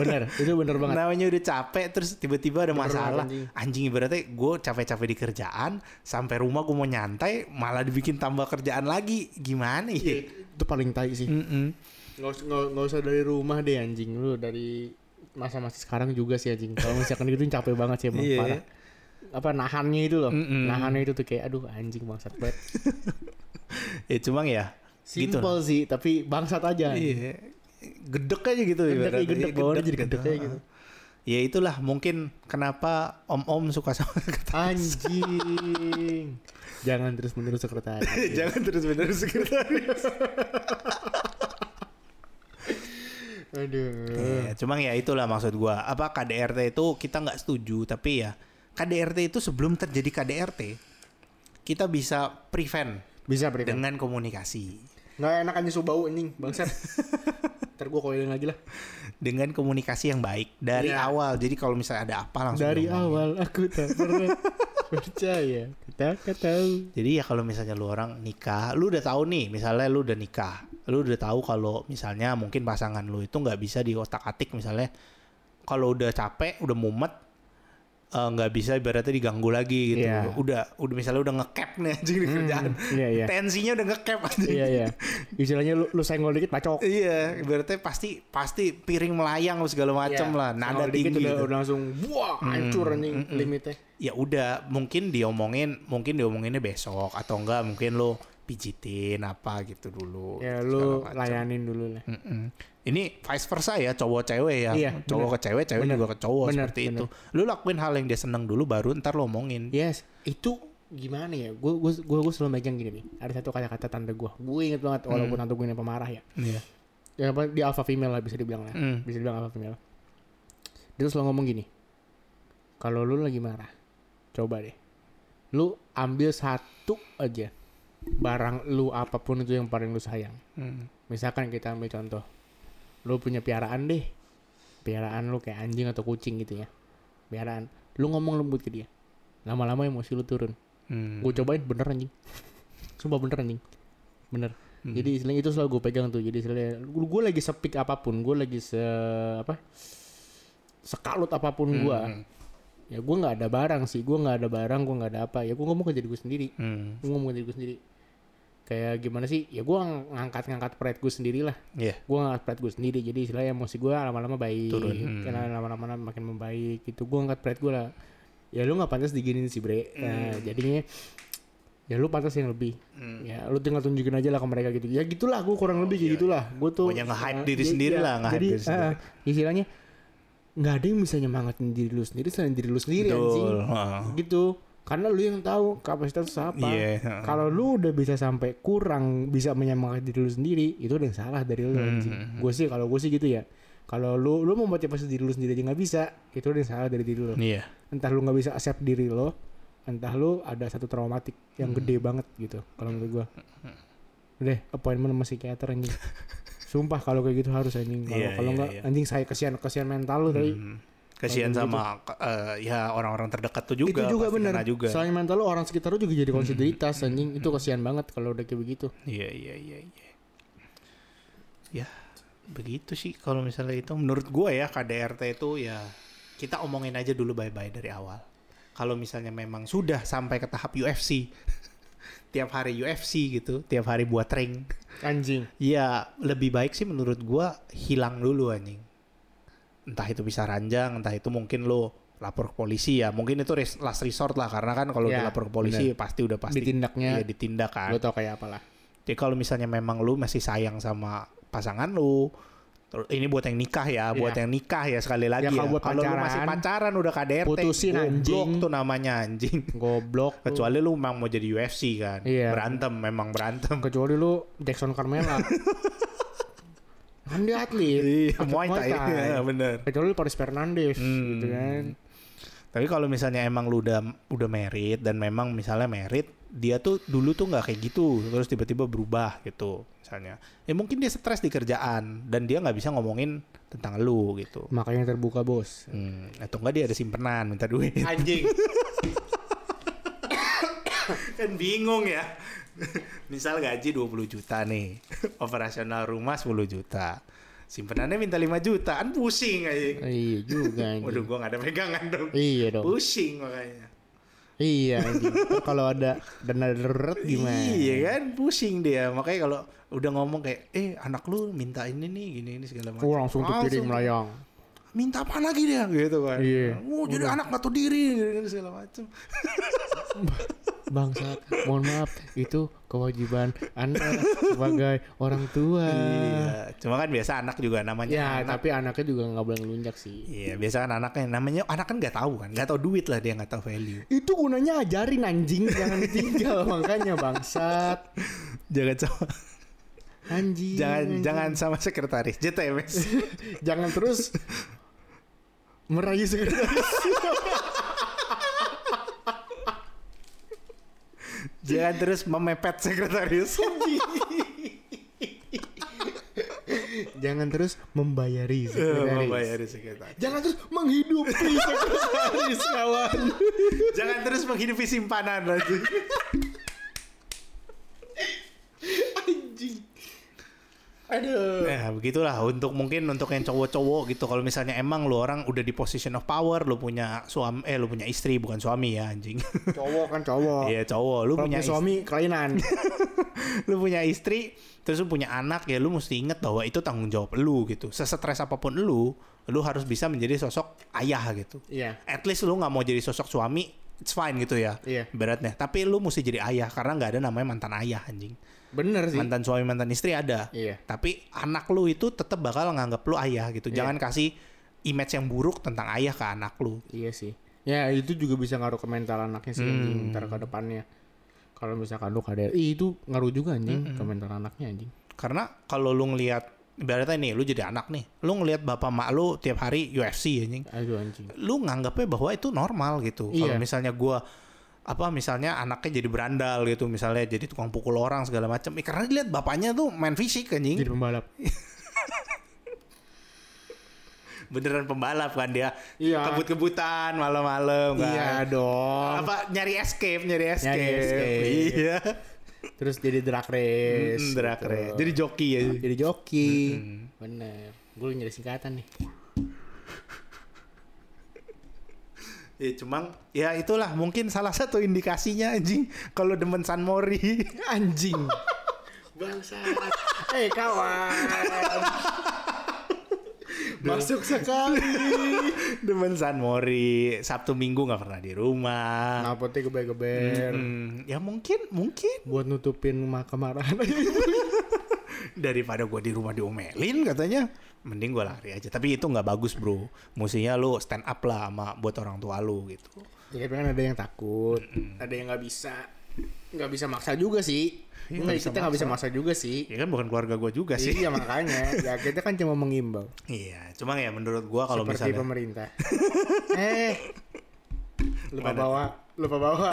[SPEAKER 1] bener. Itu bener banget.
[SPEAKER 2] Namanya udah capek terus tiba-tiba ada
[SPEAKER 1] Bener banget,
[SPEAKER 2] masalah.
[SPEAKER 1] anjing.
[SPEAKER 2] Anjing. ibaratnya gue capek-capek di kerjaan, sampai rumah gue mau nyantai malah dibikin tambah kerjaan lagi. Gimana
[SPEAKER 1] Iya.
[SPEAKER 2] ya?
[SPEAKER 1] Itu paling tai sih.
[SPEAKER 2] Mm-mm.
[SPEAKER 1] Nggak us- nggak- nggak usah dari rumah deh anjing lu dari masa-masa sekarang juga sih anjing. Kalau misalkan gitu capek banget sih emang
[SPEAKER 2] Iya.
[SPEAKER 1] parah. Apa nahannya itu loh.
[SPEAKER 2] Mm-mm.
[SPEAKER 1] Nahannya itu tuh kayak aduh anjing bangsat banget.
[SPEAKER 2] Ya cuma ya Gitu
[SPEAKER 1] Simple sih, tapi bangsat aja. anjing.
[SPEAKER 2] Iya. Gedek aja gitu
[SPEAKER 1] Gedek,
[SPEAKER 2] ibaratnya.
[SPEAKER 1] iya, gedek,
[SPEAKER 2] Iya,
[SPEAKER 1] bawahnya jadi gedek aja gitu.
[SPEAKER 2] Ya itulah mungkin kenapa om-om suka sama kata
[SPEAKER 1] Anjing. Jangan terus menerus sekretaris.
[SPEAKER 2] Jangan terus-menerus gitu. sekretaris.
[SPEAKER 1] Aduh.
[SPEAKER 2] Iya, Cuma ya itulah maksud gua. Apa KDRT itu kita nggak setuju tapi ya KDRT itu sebelum terjadi KDRT kita bisa prevent
[SPEAKER 1] Bisa prevent.
[SPEAKER 2] dengan komunikasi.
[SPEAKER 1] Nggak enak anjing so bau anjing bangsat. Ntar gua koilin lagi lah.
[SPEAKER 2] Dengan komunikasi yang baik dari
[SPEAKER 1] Iya.
[SPEAKER 2] awal. Jadi kalau misalnya ada apa langsung
[SPEAKER 1] Dari
[SPEAKER 2] diomongin.
[SPEAKER 1] awal aku tak pernah percaya. Kita nggak tahu.
[SPEAKER 2] Jadi ya kalau misalnya lu orang nikah, lu udah tahu nih, misalnya lu udah nikah, lu udah tahu kalau misalnya mungkin pasangan lu itu nggak bisa diotak-atik misalnya kalau udah capek, udah mumet eh, nggak bisa ibaratnya diganggu lagi gitu.
[SPEAKER 1] Iya.
[SPEAKER 2] Udah udah misalnya udah ngecap nih anjing di kerjaan.
[SPEAKER 1] Iya iya.
[SPEAKER 2] Tensinya udah ngecap anjing.
[SPEAKER 1] Iya iya. Istilahnya lu, lu senggol dikit pacok.
[SPEAKER 2] Iya, ibaratnya pasti pasti piring melayang segala macem
[SPEAKER 1] Iya.
[SPEAKER 2] lah, nada
[SPEAKER 1] Senggol dikit
[SPEAKER 2] tinggi.
[SPEAKER 1] udah,
[SPEAKER 2] gitu.
[SPEAKER 1] udah langsung wah hancur anjing limitnya.
[SPEAKER 2] ya udah mungkin diomongin mungkin diomonginnya besok atau enggak mungkin lo pijitin apa gitu dulu
[SPEAKER 1] Ya
[SPEAKER 2] gitu,
[SPEAKER 1] lu
[SPEAKER 2] segala macam.
[SPEAKER 1] layanin dulu lah.
[SPEAKER 2] Mm-mm. ini vice versa ya cowok cewek ya
[SPEAKER 1] Iya,
[SPEAKER 2] cowok ke cewek cewek
[SPEAKER 1] Bener.
[SPEAKER 2] juga ke cowok
[SPEAKER 1] Bener,
[SPEAKER 2] seperti
[SPEAKER 1] bener.
[SPEAKER 2] itu lu lakuin hal yang dia seneng dulu baru ntar lo omongin
[SPEAKER 1] Yes, itu gimana ya? Gue gue gue selalu megang gini nih. Ada satu kata-kata tante gue. Gue inget banget walaupun tante gue ini pemarah ya.
[SPEAKER 2] Iya.
[SPEAKER 1] Ya apa dia alpha female lah bisa dibilang lah.
[SPEAKER 2] Mm.
[SPEAKER 1] Bisa dibilang alpha female. Dia tuh selalu ngomong gini. Kalau lu lagi marah, coba deh. Lu ambil satu aja barang lu apapun itu yang paling lu sayang.
[SPEAKER 2] Mm.
[SPEAKER 1] Misalkan kita ambil contoh. Lu punya piaraan deh. Piaraan lu kayak anjing atau kucing gitu ya. Piaraan. Lu ngomong lembut ke dia. Lama-lama emosi lu turun
[SPEAKER 2] Mm.
[SPEAKER 1] gue cobain bener anjing sumpah bener anjing bener
[SPEAKER 2] Mm.
[SPEAKER 1] jadi istilahnya itu selalu gue pegang tuh jadi istilahnya gue lagi sepik apapun gue lagi se apa sekalut apapun gue
[SPEAKER 2] Mm.
[SPEAKER 1] ya gue nggak ada barang sih gue nggak ada barang gue nggak ada apa ya gue ngomong ke diri gue sendiri
[SPEAKER 2] Mm.
[SPEAKER 1] gue ngomong ke diri gue sendiri kayak gimana sih ya gue ngangkat ngangkat pride gue sendiri lah
[SPEAKER 2] Iya.
[SPEAKER 1] gue ngangkat pride gue sendiri jadi istilahnya emosi gue lama-lama baik
[SPEAKER 2] Turun,
[SPEAKER 1] Karena
[SPEAKER 2] hmm.
[SPEAKER 1] lama-lama makin membaik gitu gue ngangkat pride gue lah ya lu nggak pantas diginin sih bre nah,
[SPEAKER 2] Hmm.
[SPEAKER 1] jadinya ya lu pantas yang lebih ya lu tinggal tunjukin aja lah ke mereka gitu ya gitulah gue kurang lebih kayak gitulah gue tuh
[SPEAKER 2] Oh, iya. Pokoknya nge-hype
[SPEAKER 1] eh,
[SPEAKER 2] diri
[SPEAKER 1] iya,
[SPEAKER 2] sendiri
[SPEAKER 1] iya.
[SPEAKER 2] lah, nge-hype
[SPEAKER 1] jadi
[SPEAKER 2] diri sendiri.
[SPEAKER 1] eh, istilahnya nggak ada yang bisa nyemangatin diri lu sendiri selain diri lu sendiri Iya, anjing
[SPEAKER 2] betul Heeh.
[SPEAKER 1] gitu karena lu yang tahu kapasitas lu apa
[SPEAKER 2] Iya, heeh.
[SPEAKER 1] kalau lu udah bisa sampai kurang bisa menyemangati diri lu sendiri itu udah yang salah dari
[SPEAKER 2] Hmm,
[SPEAKER 1] lu anjing gue sih kalau gue sih gitu ya kalau lu lu memotivasi diri lu sendiri aja nggak bisa itu udah yang salah dari diri lu
[SPEAKER 2] iya
[SPEAKER 1] entah lu nggak bisa accept diri lo entah lu ada satu traumatik yang
[SPEAKER 2] Hmm.
[SPEAKER 1] gede banget gitu kalau menurut gue deh appointment sama psikiater anjing sumpah kalau kayak gitu harus anjing kalau
[SPEAKER 2] Iya,
[SPEAKER 1] kalau
[SPEAKER 2] iya,
[SPEAKER 1] nggak
[SPEAKER 2] iya.
[SPEAKER 1] anjing saya kesian kesian mental lu tadi
[SPEAKER 2] Mm. kasihan sama eh, ya orang-orang terdekat tuh juga
[SPEAKER 1] gitu. itu juga
[SPEAKER 2] pasti
[SPEAKER 1] benar.
[SPEAKER 2] kena juga Hmm.
[SPEAKER 1] Selain mental lu orang sekitar lu juga jadi konsideritas anjing. Itu kasihan banget kalau udah kayak begitu.
[SPEAKER 2] Iya iya iya iya. Ya begitu sih kalau misalnya itu menurut gue ya KDRT itu ya kita omongin aja dulu bye-bye dari awal. Kalau misalnya memang sudah sampai ke tahap UFC, tiap hari UFC gitu, tiap hari buat ring,
[SPEAKER 1] Anjing.
[SPEAKER 2] ya lebih baik sih menurut gue hilang dulu anjing. Entah itu bisa ranjang, entah itu mungkin lo lapor ke polisi ya, mungkin itu res- last resort lah karena kan kalau
[SPEAKER 1] Ya,
[SPEAKER 2] udah lapor ke polisi pasti udah pasti
[SPEAKER 1] Ditindaknya.
[SPEAKER 2] ya ditindak kan.
[SPEAKER 1] Gue tau kayak apalah.
[SPEAKER 2] Jadi kalau misalnya memang lu masih sayang sama pasangan lu, ter- ini buat yang nikah ya, buat
[SPEAKER 1] Iya.
[SPEAKER 2] yang nikah ya sekali
[SPEAKER 1] Ya,
[SPEAKER 2] lagi ya.
[SPEAKER 1] kalau buat
[SPEAKER 2] Kalau lu
[SPEAKER 1] pacaran,
[SPEAKER 2] masih pacaran udah KDRT,
[SPEAKER 1] putusin,
[SPEAKER 2] goblok
[SPEAKER 1] anjing.
[SPEAKER 2] tuh namanya anjing.
[SPEAKER 1] Goblok. lu.
[SPEAKER 2] Kecuali lu memang mau jadi UFC kan,
[SPEAKER 1] Iya.
[SPEAKER 2] berantem memang berantem.
[SPEAKER 1] Kecuali lu Jackson Carmela. kan dia atlet.
[SPEAKER 2] Iya,
[SPEAKER 1] atlet
[SPEAKER 2] Muay Thai, Iya, bener.
[SPEAKER 1] Kecuali lu Paris Fernandes
[SPEAKER 2] Hmm.
[SPEAKER 1] gitu kan.
[SPEAKER 2] Tapi kalau misalnya emang lu udah udah merit dan memang misalnya merit dia tuh dulu tuh nggak kayak gitu terus tiba-tiba berubah gitu misalnya ya mungkin dia stres di kerjaan dan dia nggak bisa ngomongin tentang lu gitu
[SPEAKER 1] Makanya terbuka bos.
[SPEAKER 2] hmm, atau enggak dia ada simpenan minta duit
[SPEAKER 1] Anjing.
[SPEAKER 2] kan bingung ya misal gaji 20 juta nih operasional rumah 10 juta simpenannya minta 5 juta kan pusing aja
[SPEAKER 1] iya juga
[SPEAKER 2] waduh
[SPEAKER 1] anjing.
[SPEAKER 2] gua nggak ada pegangan dong
[SPEAKER 1] iya dong.
[SPEAKER 2] pusing makanya
[SPEAKER 1] Iya anjing. Ntar Kalau ada dana darurat gimana?
[SPEAKER 2] Iya kan, pusing dia. Makanya kalau udah ngomong kayak, eh anak lu minta ini nih, gini ini segala macam.
[SPEAKER 1] Oh, langsung tuh piring melayang.
[SPEAKER 2] Minta apa lagi dia gitu kan.
[SPEAKER 1] Iya.
[SPEAKER 2] Oh, jadi anak gak tahu diri, gini, gini, segala macam.
[SPEAKER 1] Bangsat, mohon maaf, itu kewajiban Anda sebagai orang tua.
[SPEAKER 2] Iya. Cuma kan biasa anak juga namanya
[SPEAKER 1] Ya,
[SPEAKER 2] anak.
[SPEAKER 1] tapi anaknya juga nggak boleh ngelunjak sih.
[SPEAKER 2] Iya, biasa kan anaknya namanya anak kan nggak tahu kan, nggak tahu duit lah dia nggak tahu value.
[SPEAKER 1] Itu gunanya ajarin anjing, jangan ditinggal makanya bangsat.
[SPEAKER 2] Jangan sama,
[SPEAKER 1] Anjing.
[SPEAKER 2] jangan
[SPEAKER 1] anjing.
[SPEAKER 2] jangan sama sekretaris JTMS.
[SPEAKER 1] jangan terus merayu sekretaris.
[SPEAKER 2] jangan terus memepet sekretaris.
[SPEAKER 1] jangan terus
[SPEAKER 2] Eh,
[SPEAKER 1] membayari sekretaris.
[SPEAKER 2] Membayari Iya, sekretaris.
[SPEAKER 1] Jangan terus menghidupi sekretaris kawan.
[SPEAKER 2] Jangan terus menghidupi simpanan lagi.
[SPEAKER 1] Anjing. Aduh.
[SPEAKER 2] Nah, begitulah untuk mungkin untuk yang cowok-cowok gitu. Kalau misalnya emang lu orang udah di position of power, lu punya suami eh lu punya istri bukan suami ya anjing.
[SPEAKER 1] Cowok kan cowok.
[SPEAKER 2] Iya, cowok, lu
[SPEAKER 1] Kalau punya
[SPEAKER 2] punya
[SPEAKER 1] suami kelainan.
[SPEAKER 2] istri, lu punya istri, terus lu punya anak ya lu mesti inget bahwa itu tanggung jawab lu gitu. Sesetres apapun lu, lu harus bisa menjadi sosok ayah gitu.
[SPEAKER 1] Iya.
[SPEAKER 2] At least lu nggak mau jadi sosok suami, it's fine gitu ya.
[SPEAKER 1] Iya.
[SPEAKER 2] Beratnya. Tapi lu mesti jadi ayah karena nggak ada namanya mantan ayah anjing.
[SPEAKER 1] Bener sih.
[SPEAKER 2] Mantan suami, mantan istri ada.
[SPEAKER 1] Iya.
[SPEAKER 2] tapi anak lu itu tetap bakal nganggap lu ayah gitu.
[SPEAKER 1] Iya.
[SPEAKER 2] Jangan kasih image yang buruk tentang ayah ke anak lu.
[SPEAKER 1] Iya sih. Ya itu juga bisa ngaruh ke mental anaknya sih anjing
[SPEAKER 2] Hmm.
[SPEAKER 1] ntar ke depannya. Kalau misalkan lu KDRI itu ngaruh juga anjing ke mental anaknya anjing.
[SPEAKER 2] Karena kalau lu ngelihat ibaratnya nih lu jadi anak nih, lu ngelihat bapak mak lu tiap hari UFC anjing.
[SPEAKER 1] Aduh anjing.
[SPEAKER 2] Lu nganggapnya bahwa itu normal gitu.
[SPEAKER 1] Iya.
[SPEAKER 2] Kalau misalnya gua apa misalnya anaknya jadi berandal gitu, misalnya jadi tukang pukul orang segala macam. Eh, karena dilihat bapaknya tuh main fisik anjing.
[SPEAKER 1] Jadi pembalap.
[SPEAKER 2] Beneran pembalap kan dia.
[SPEAKER 1] Iya.
[SPEAKER 2] Kebut-kebutan malam-malam kan.
[SPEAKER 1] Iya dong.
[SPEAKER 2] Apa nyari escape, nyari escape.
[SPEAKER 1] escape.
[SPEAKER 2] Iya.
[SPEAKER 1] Terus jadi drag race.
[SPEAKER 2] Mm, drag
[SPEAKER 1] gitu.
[SPEAKER 2] race. Jadi joki ya.
[SPEAKER 1] Jadi Hmm. joki. Bener. Gue nyari singkatan nih.
[SPEAKER 2] Ya cuman ya itulah mungkin salah satu indikasinya anjing kalau demen San Mori.
[SPEAKER 1] Anjing. Bangsa. Eh kawan. Masuk sekali.
[SPEAKER 2] demen San Mori, Sabtu Minggu nggak pernah di rumah.
[SPEAKER 1] Napotnya geber-geber.
[SPEAKER 2] Hmm, ya mungkin mungkin
[SPEAKER 1] Buat nutupin ma- kemarahan.
[SPEAKER 2] daripada gua di rumah diomelin katanya mending gua lari aja. Tapi itu nggak bagus, Bro. Mestinya lu stand up lah sama buat orang tua lu gitu.
[SPEAKER 1] ya kan ada yang takut. Ada yang nggak bisa. Nggak bisa maksa juga sih.
[SPEAKER 2] Iya,
[SPEAKER 1] Nggak,
[SPEAKER 2] nggak bisa
[SPEAKER 1] kita nggak bisa maksa juga sih.
[SPEAKER 2] Ya kan bukan keluarga gua juga sih.
[SPEAKER 1] Iya makanya. Ya kita kan cuma mengimbau.
[SPEAKER 2] Iya, cuma ya menurut gua kalau
[SPEAKER 1] seperti
[SPEAKER 2] misalnya
[SPEAKER 1] pemerintah. eh, lupa bawa, lupa bawa,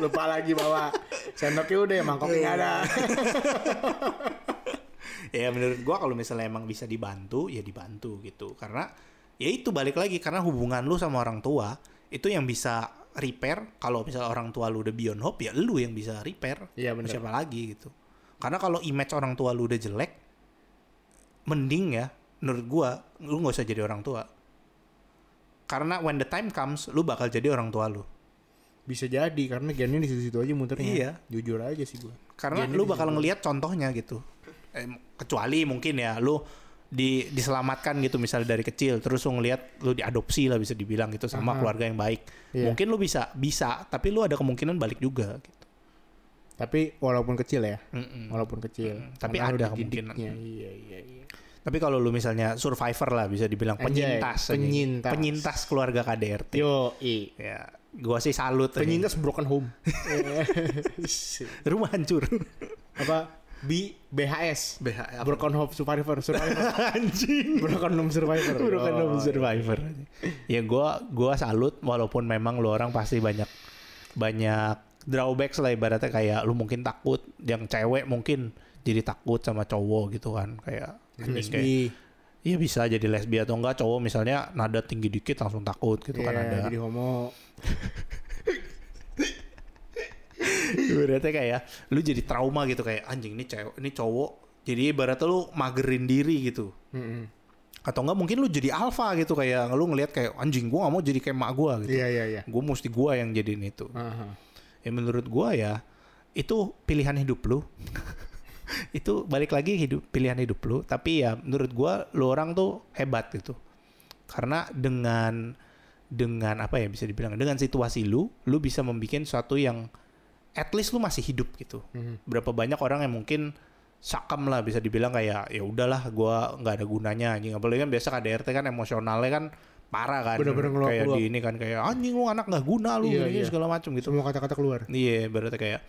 [SPEAKER 1] lupa lagi bawa. Sendoknya udah, mangkoknya nggak ada.
[SPEAKER 2] Iya. ya menurut gua kalau misalnya emang bisa dibantu ya dibantu gitu karena ya itu balik lagi karena hubungan lu sama orang tua itu yang bisa repair kalau misalnya orang tua lu udah beyond hope ya lu yang bisa repair
[SPEAKER 1] Iya, bener.
[SPEAKER 2] siapa lagi gitu karena kalau image orang tua lu udah jelek mending ya menurut gua lu nggak usah jadi orang tua karena when the time comes lu bakal jadi orang tua lu
[SPEAKER 1] Bisa jadi karena gennya di situ-situ aja muternya.
[SPEAKER 2] Iya.
[SPEAKER 1] Jujur aja sih gua.
[SPEAKER 2] karena
[SPEAKER 1] Gennya
[SPEAKER 2] lu
[SPEAKER 1] di
[SPEAKER 2] bakal
[SPEAKER 1] situ.
[SPEAKER 2] ngelihat contohnya gitu Eh, kecuali mungkin ya lu di diselamatkan gitu misalnya dari kecil terus lu ngelihat lu diadopsi lah bisa dibilang gitu sama
[SPEAKER 1] Aha.
[SPEAKER 2] keluarga yang baik
[SPEAKER 1] Iya.
[SPEAKER 2] mungkin lu bisa bisa tapi lu ada kemungkinan balik juga gitu
[SPEAKER 1] Tapi walaupun kecil ya,
[SPEAKER 2] Mm-mm.
[SPEAKER 1] walaupun kecil.
[SPEAKER 2] Tapi
[SPEAKER 1] Karena lu
[SPEAKER 2] ada
[SPEAKER 1] dididiknya.
[SPEAKER 2] kemungkinan.
[SPEAKER 1] Iya, iya, iya.
[SPEAKER 2] tapi kalau lu misalnya survivor lah bisa dibilang
[SPEAKER 1] Anjay,
[SPEAKER 2] penyintas aja.
[SPEAKER 1] penyintas.
[SPEAKER 2] penyintas keluarga KDRT
[SPEAKER 1] Yo, i.
[SPEAKER 2] ya gua sih salut aja.
[SPEAKER 1] Penyintas broken home.
[SPEAKER 2] rumah hancur
[SPEAKER 1] Apa? B BHS.
[SPEAKER 2] BH apa?
[SPEAKER 1] Broken Home Survivor, Survivor.
[SPEAKER 2] anjing
[SPEAKER 1] Broken Home Survivor. Oh,
[SPEAKER 2] Bukan
[SPEAKER 1] Yo,
[SPEAKER 2] dong survivor. Ya gua gua salut walaupun memang lu orang pasti banyak banyak drawbacks lah ibaratnya kayak lu mungkin takut yang cewek mungkin jadi takut sama cowok gitu kan kayak
[SPEAKER 1] Jadi
[SPEAKER 2] anjing,
[SPEAKER 1] lesbi.
[SPEAKER 2] kayak, Iya bisa jadi lesbi atau enggak cowok misalnya nada tinggi dikit langsung takut gitu kan
[SPEAKER 1] Iya,
[SPEAKER 2] ada.
[SPEAKER 1] jadi homo
[SPEAKER 2] Ibaratnya kayak lu jadi trauma gitu kayak anjing ini cewek ini cowok. Jadi ibaratnya lu magerin diri gitu.
[SPEAKER 1] Mm-mm.
[SPEAKER 2] Atau enggak mungkin lu jadi alfa gitu kayak lu ngelihat kayak anjing gua nggak mau jadi kayak mak gua gitu.
[SPEAKER 1] iya iya iya
[SPEAKER 2] Gua mesti gua yang jadiin itu.
[SPEAKER 1] Aha.
[SPEAKER 2] Ya menurut gua ya itu pilihan hidup lu. itu balik lagi hidup pilihan hidup lu, tapi ya menurut gua lu orang tuh hebat gitu. Karena dengan dengan apa ya bisa dibilang dengan situasi lu, lu bisa membuat sesuatu yang at least lu masih hidup gitu.
[SPEAKER 1] Mhm.
[SPEAKER 2] Berapa banyak orang yang mungkin sakam lah bisa dibilang kayak ya udahlah gua nggak ada gunanya anjing apalagi kan biasa KDRT kan emosionalnya kan parah kan
[SPEAKER 1] Bener-bener ngeluap-
[SPEAKER 2] kayak
[SPEAKER 1] ngeluap.
[SPEAKER 2] di ini kan kayak anjing lu anak nggak guna lu
[SPEAKER 1] Iya,
[SPEAKER 2] ini
[SPEAKER 1] iya.
[SPEAKER 2] segala macam gitu
[SPEAKER 1] semua kata-kata keluar
[SPEAKER 2] Iya, berarti kayak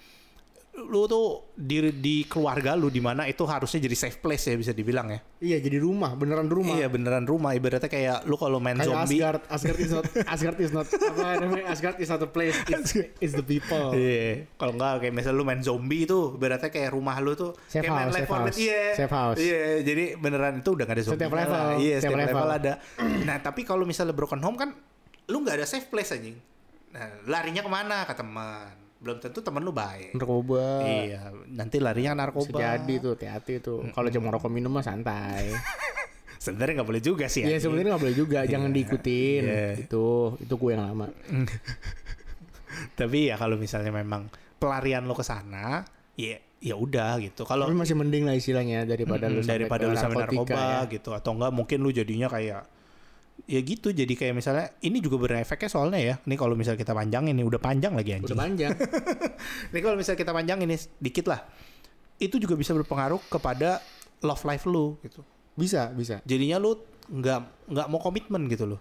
[SPEAKER 2] lu tuh di di keluarga lu di mana itu harusnya jadi safe place ya bisa dibilang ya.
[SPEAKER 1] iya jadi rumah beneran rumah
[SPEAKER 2] Iya, beneran rumah ibaratnya kayak lu kalau main
[SPEAKER 1] kayak
[SPEAKER 2] zombie.
[SPEAKER 1] Asgard Asgard is not Asgard is not apa namanya Asgard is not a place it's, it's the people
[SPEAKER 2] Iya, kalau enggak kayak misalnya lu main zombie itu berarti kayak rumah lu tuh
[SPEAKER 1] Safe
[SPEAKER 2] kayak main
[SPEAKER 1] house,
[SPEAKER 2] Left
[SPEAKER 1] safe
[SPEAKER 2] 4 Dead.
[SPEAKER 1] house,
[SPEAKER 2] Iya.
[SPEAKER 1] safe house.
[SPEAKER 2] Iya, jadi beneran itu udah gak ada zombie.
[SPEAKER 1] Setiap level,
[SPEAKER 2] lah. Iya, setiap,
[SPEAKER 1] setiap
[SPEAKER 2] level.
[SPEAKER 1] level.
[SPEAKER 2] ada. Nah, tapi kalau misalnya Broken Home kan lu nggak ada safe place anjing. Nah, larinya kemana ke teman? Belum tentu teman lu baik.
[SPEAKER 1] narkoba
[SPEAKER 2] Iya, nanti
[SPEAKER 1] eh,
[SPEAKER 2] larinya
[SPEAKER 1] bisa
[SPEAKER 2] narkoba.
[SPEAKER 1] jadi tuh hati-hati tuh kalau cuma rokok minum mah santai
[SPEAKER 2] Sebenarnya nggak boleh juga sih.
[SPEAKER 1] Iya
[SPEAKER 2] anjing.
[SPEAKER 1] sebenarnya nggak boleh juga, jangan diikutin.
[SPEAKER 2] Iya.
[SPEAKER 1] Itu itu gue yang lama.
[SPEAKER 2] Tapi ya kalau misalnya memang pelarian lo ke sana, ya ya udah gitu. Kalau
[SPEAKER 1] Tapi masih mending lah istilahnya daripada lu
[SPEAKER 2] Mm,
[SPEAKER 1] sampai
[SPEAKER 2] daripada
[SPEAKER 1] ke
[SPEAKER 2] lu sampai
[SPEAKER 1] narkotika
[SPEAKER 2] narkoba
[SPEAKER 1] ya.
[SPEAKER 2] gitu atau enggak mungkin lu jadinya kayak ya gitu jadi kayak misalnya ini juga berefeknya soalnya ya. Ini kalau misalnya kita panjangin ini udah panjang lagi anjing.
[SPEAKER 1] Udah panjang.
[SPEAKER 2] Ini kalau misalnya kita panjangin ini dikit lah. Itu juga bisa berpengaruh kepada love life lu gitu.
[SPEAKER 1] bisa bisa.
[SPEAKER 2] Jadinya lu nggak nggak mau komitmen gitu loh.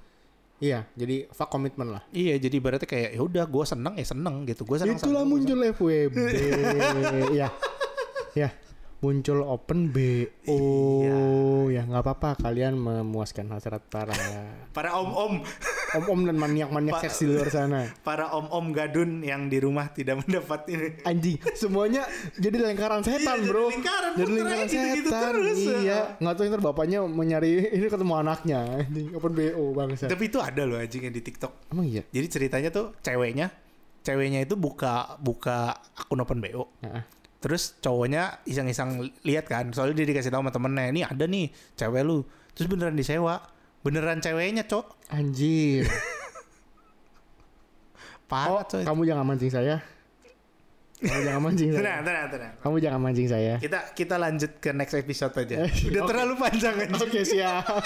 [SPEAKER 1] Iya jadi fuck komitmen lah.
[SPEAKER 2] Iya, jadi berarti kayak ya udah gue seneng ya seneng gitu. Gue seneng
[SPEAKER 1] Itulah
[SPEAKER 2] sama lu, gua
[SPEAKER 1] muncul FWB. ya ya muncul open BO.
[SPEAKER 2] Iya.
[SPEAKER 1] Ya nggak apa-apa kalian memuaskan hasrat para
[SPEAKER 2] para om-om,
[SPEAKER 1] om-om dan maniak-maniak
[SPEAKER 2] Pak-
[SPEAKER 1] seksi di luar sana.
[SPEAKER 2] para om-om gadun yang di rumah tidak mendapat ini.
[SPEAKER 1] anjing semuanya jadi lingkaran setan
[SPEAKER 2] Iya, jadi
[SPEAKER 1] bro
[SPEAKER 2] lingkaran,
[SPEAKER 1] jadi
[SPEAKER 2] puternya
[SPEAKER 1] lingkaran
[SPEAKER 2] gitu-gitu
[SPEAKER 1] setan
[SPEAKER 2] terus.
[SPEAKER 1] iya nggak tahu ntar bapaknya mencari ini ketemu anaknya anjing open bo bangsa
[SPEAKER 2] Tapi itu ada loh anjing yang di TikTok.
[SPEAKER 1] emang iya
[SPEAKER 2] Jadi ceritanya tuh ceweknya, ceweknya itu buka buka akun open BO.
[SPEAKER 1] Heeh.
[SPEAKER 2] Terus cowoknya iseng-iseng lihat kan, soalnya dia dikasih tahu sama temennya, ini ada nih cewek lu. Terus beneran disewa, beneran ceweknya cok,
[SPEAKER 1] anjir oh
[SPEAKER 2] parah cok.
[SPEAKER 1] kamu jangan mancing saya kamu jangan mancing saya
[SPEAKER 2] Tenang, tenang, tenang.
[SPEAKER 1] kamu jangan mancing saya
[SPEAKER 2] Kita kita lanjut ke next episode aja.
[SPEAKER 1] Eh,
[SPEAKER 2] Udah
[SPEAKER 1] oke.
[SPEAKER 2] terlalu panjang anjing.
[SPEAKER 1] oke siap